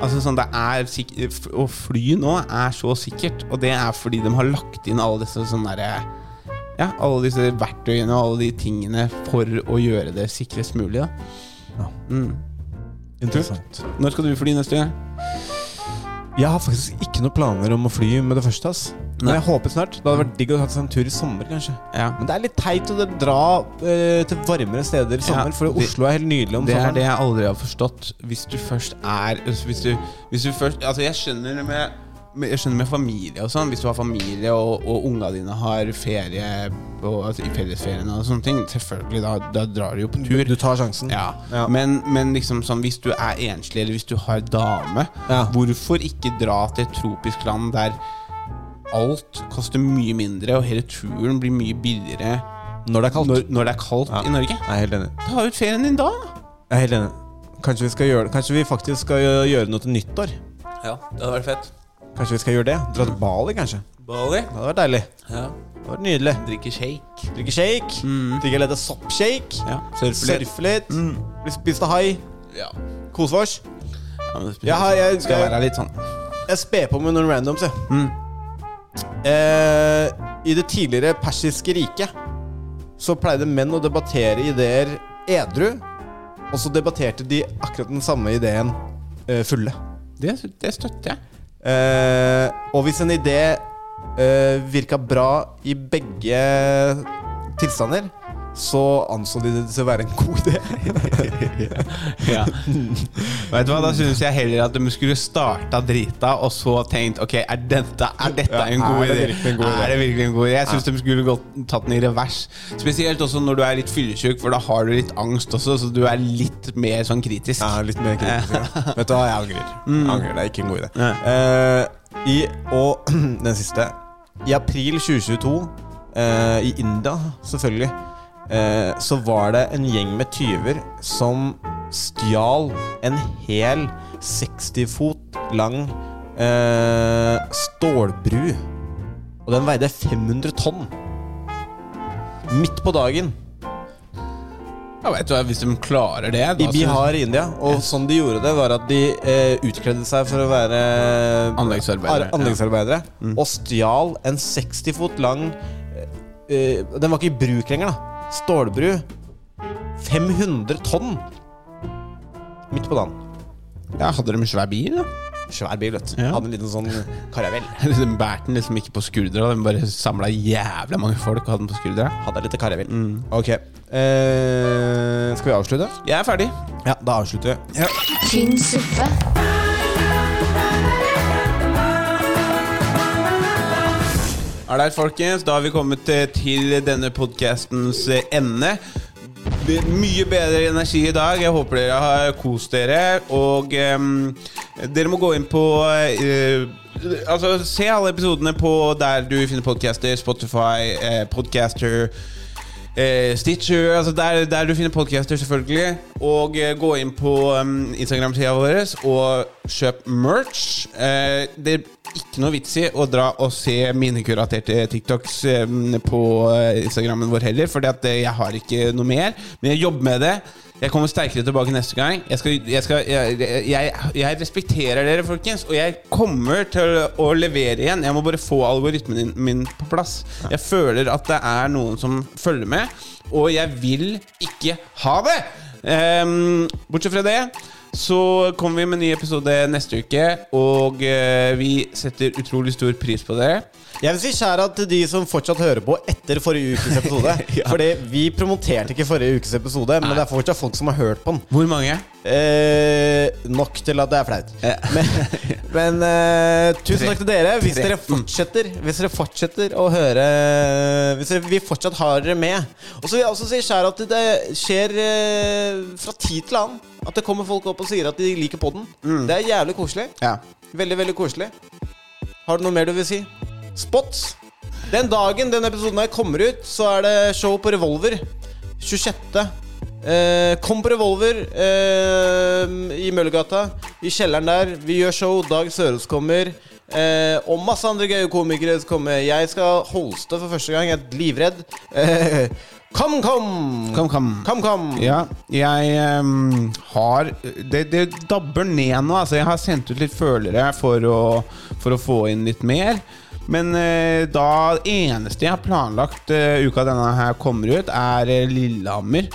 Speaker 2: Altså sånn, det er sik f- Å fly nå er så sikkert, og det er fordi de har lagt inn alle disse sånne derre ja, alle disse verktøyene og alle de tingene for å gjøre det sikrest mulig. Da. Mm.
Speaker 3: Interessant.
Speaker 2: Når skal du fly neste gang?
Speaker 3: Jeg har faktisk ikke noen planer om å fly med det første. ass Men
Speaker 2: Nei.
Speaker 3: jeg håper snart. Det hadde vært digg å ha seg en tur i sommer, kanskje.
Speaker 2: Ja.
Speaker 3: Men det er litt teit å dra eh, til varmere steder i sommer,
Speaker 2: Ja,
Speaker 3: for
Speaker 2: det-
Speaker 3: Oslo er helt nydelig om
Speaker 2: Det er
Speaker 3: sommeren.
Speaker 2: det jeg aldri har forstått. Hvis du først er Hvis du, hvis du først Altså, jeg skjønner det med med- jeg skjønner med familie og sånn. Hvis du har familie og, og unga dine har ferie på, altså, i fellesferien og sånne ting, selvfølgelig, da, da drar du jo på tur.
Speaker 3: Du tar sjansen.
Speaker 2: Ja. Men, men liksom sånn, hvis du er enslig, eller hvis du har dame, hvorfor ikke dra til et tropisk land der alt koster mye mindre, og hele turen blir mye billigere
Speaker 3: Når det er kaldt.
Speaker 2: når, når det er kaldt i Norge?
Speaker 3: Jeg er helt enig.
Speaker 2: Ta ut ferien din da!
Speaker 3: Jeg er helt enig. Kanskje vi, skal gjøre, kanskje vi faktisk skal gjø- gjøre noe til nyttår?
Speaker 2: Ja, det hadde vært fett.
Speaker 3: Kanskje vi skal gjøre det? Dra til Bali, kanskje?
Speaker 2: Bali.
Speaker 3: Det hadde vært deilig.
Speaker 2: Ja.
Speaker 3: Det hadde vært Nydelig.
Speaker 2: Drikke shake.
Speaker 3: Drikke shake, drikke litt soppshake,
Speaker 2: Ja, surfe
Speaker 3: Mm. surfe
Speaker 2: litt.
Speaker 3: litt, bli spist av hai,
Speaker 2: Ja.
Speaker 3: kose oss.
Speaker 2: Jeg har, jeg, skal
Speaker 3: jeg-
Speaker 2: være litt sånn
Speaker 3: Jeg sper på med noen randoms, jeg. Eh, I det tidligere persiske riket så pleide menn å debattere ideer edru, og så debatterte de akkurat den samme ideen eh, fulle.
Speaker 2: Det, det støtter jeg.
Speaker 3: Eh, og hvis en idé eh, virka bra i begge tilstander, så anså de det til å være en god idé.
Speaker 2: Ja. Vet du hva, Da syns jeg heller at de skulle starta drita, og så tenkt Ok, er dette, er dette
Speaker 3: Ja,
Speaker 2: en god
Speaker 3: er det
Speaker 2: idé?
Speaker 3: virkelig en god idé?
Speaker 2: Er det virkelig en god idé? Jeg syns de skulle gått, tatt den i revers. Spesielt også når du er litt fyllesyk, for da har du litt angst også, så du er litt mer sånn kritisk.
Speaker 3: Ja, litt mer kritisk. ja. Vet du hva, jeg angrer. Jeg angrer, Det er ikke en god idé.
Speaker 2: Nei.
Speaker 3: Eh, i, og den siste. I april 2022, eh, i India selvfølgelig, eh, så var det en gjeng med tyver som stjal en hel 60 fot lang eh, stålbru. Og den veide 500 tonn. Midt på dagen.
Speaker 2: Ja, vet du hva, Hvis de klarer det,
Speaker 3: I
Speaker 2: da
Speaker 3: Bihar i India. Og sånn de gjorde det, var at de eh, utkledde seg for å være eh,
Speaker 2: Anleggsarbeidere,
Speaker 3: ar- anleggsarbeidere og stjal en 60 fot lang eh, eh, Den var ikke i bruk lenger, da. Stålbru. 500 tonn midt på dagen.
Speaker 2: ja, Hadde de svær bil, da?
Speaker 3: Svær bil, vet du.
Speaker 2: Ja.
Speaker 3: Hadde en liten sånn karavell.
Speaker 2: De bærte den liksom ikke på skuldra, de bare samla jævla mange folk og hadde den på skuldra.
Speaker 3: Hadde litt karavell. Ok. Eh, skal vi avslutte?
Speaker 2: Jeg er ferdig.
Speaker 3: Ja, da avslutter vi.
Speaker 7: Tynn suppe.
Speaker 2: Alright, folkens, da har vi kommet eh, til denne podcastens eh, ende. Det er Mye bedre energi i dag. Jeg håper dere har kost dere. Og em, dere må gå inn på eh, Altså, se alle episodene på der du finner podcaster. Spotify, eh, Podcaster, eh, Stitcher Altså der, der du finner podcaster, selvfølgelig. Og eh, gå inn på em, Instagram-sida vår og kjøp merch. Eh, det er ikke noe vits i å dra og se mine kuraterte TikToks em, på eh, Instagrammen vår heller, Fordi at eh, jeg har ikke noe mer. Men jeg jobber med det. Jeg kommer sterkere tilbake neste gang. Jeg, skal, jeg, skal, jeg, Eh, jeg, jeg respekterer dere, folkens, og jeg kommer til å levere igjen. Jeg må bare få algoritmen din- min på plass. Jeg føler at det er noen som følger med, og jeg vil ikke ha det! Ehm, bortsett fra det Så kommer vi med en ny episode neste uke, og eh, vi setter utrolig stor pris på det.
Speaker 3: Jeg vil si skjæra til de som fortsatt hører på etter forrige ukes episode. Fordi vi promoterte ikke forrige ukes episode, men det er fortsatt folk som har hørt på den.
Speaker 2: Hvor mange?
Speaker 3: Eh, nok til at det er flaut. Men, men eh, tusen
Speaker 2: Tre.
Speaker 3: takk til dere. Hvis
Speaker 2: Tre. Mm.
Speaker 3: dere fortsetter Hvis dere fortsetter å høre Hvis dere, vi fortsatt har dere med. Og så vil jeg også si skjæra til det skjer eh, fra tid til annen at det kommer folk opp og sier at de liker podden.
Speaker 2: Mm.
Speaker 3: Det er jævlig koselig. Veldig, veldig koselig. Har du noe mer du vil si? Spots. Den dagen den episoden her kommer ut, så er det show på Revolver. 26. Eh, kom på Revolver eh, i Møllergata. I kjelleren der. Vi gjør show. Dag Sørås kommer. Eh, og masse andre gøye komikere som kommer. Jeg skal holste for første gang. Jeg er livredd. Eh, kom, kom!
Speaker 2: Kom, kom.
Speaker 3: Kom, kom.
Speaker 2: Ja, jeg ehm, har det, det dabber ned nå. Altså, jeg har sendt ut litt følere for å, for å få inn litt mer. Men eh, da eneste jeg har planlagt eh, uka denne her kommer ut, er eh, Lillehammer.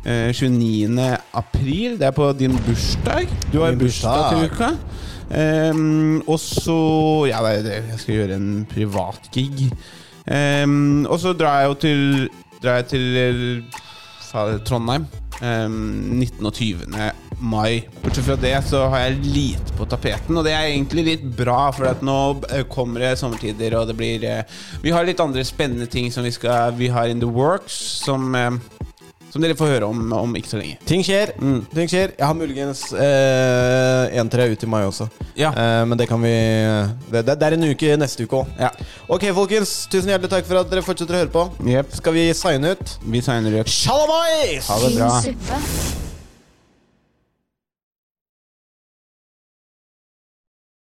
Speaker 2: Eh, 29. april. Det er på din bursdag. Du har
Speaker 3: Min
Speaker 2: bursdag til
Speaker 3: bursdag.
Speaker 2: uka. Ehm, og så Ja, det er det. jeg skal gjøre en privatgig. Um, og så drar jeg jo til, drar jeg til eh, sa det, Trondheim. ehm, 19. og 20. mai. Bortsett fra det så har jeg lite på tapeten, og det er egentlig litt bra, for at nå eh, kommer det sommertider, og det blir eh, Vi har litt andre spennende ting som vi skal Vi har in the works, som eh, som dere får høre om om ikke så lenge.
Speaker 3: Ting skjer. Ting skjer. Jeg har muligens eh, en til deg ut i mai også. Eh, men det kan vi det, det, det er en uke neste uke òg. Ok, folkens. Tusen hjertelig takk for at dere fortsetter å høre på. Skal vi signe ut?
Speaker 2: Vi signer ut.
Speaker 3: Shalabais!
Speaker 2: Ha det bra.
Speaker 7: Fin suppe.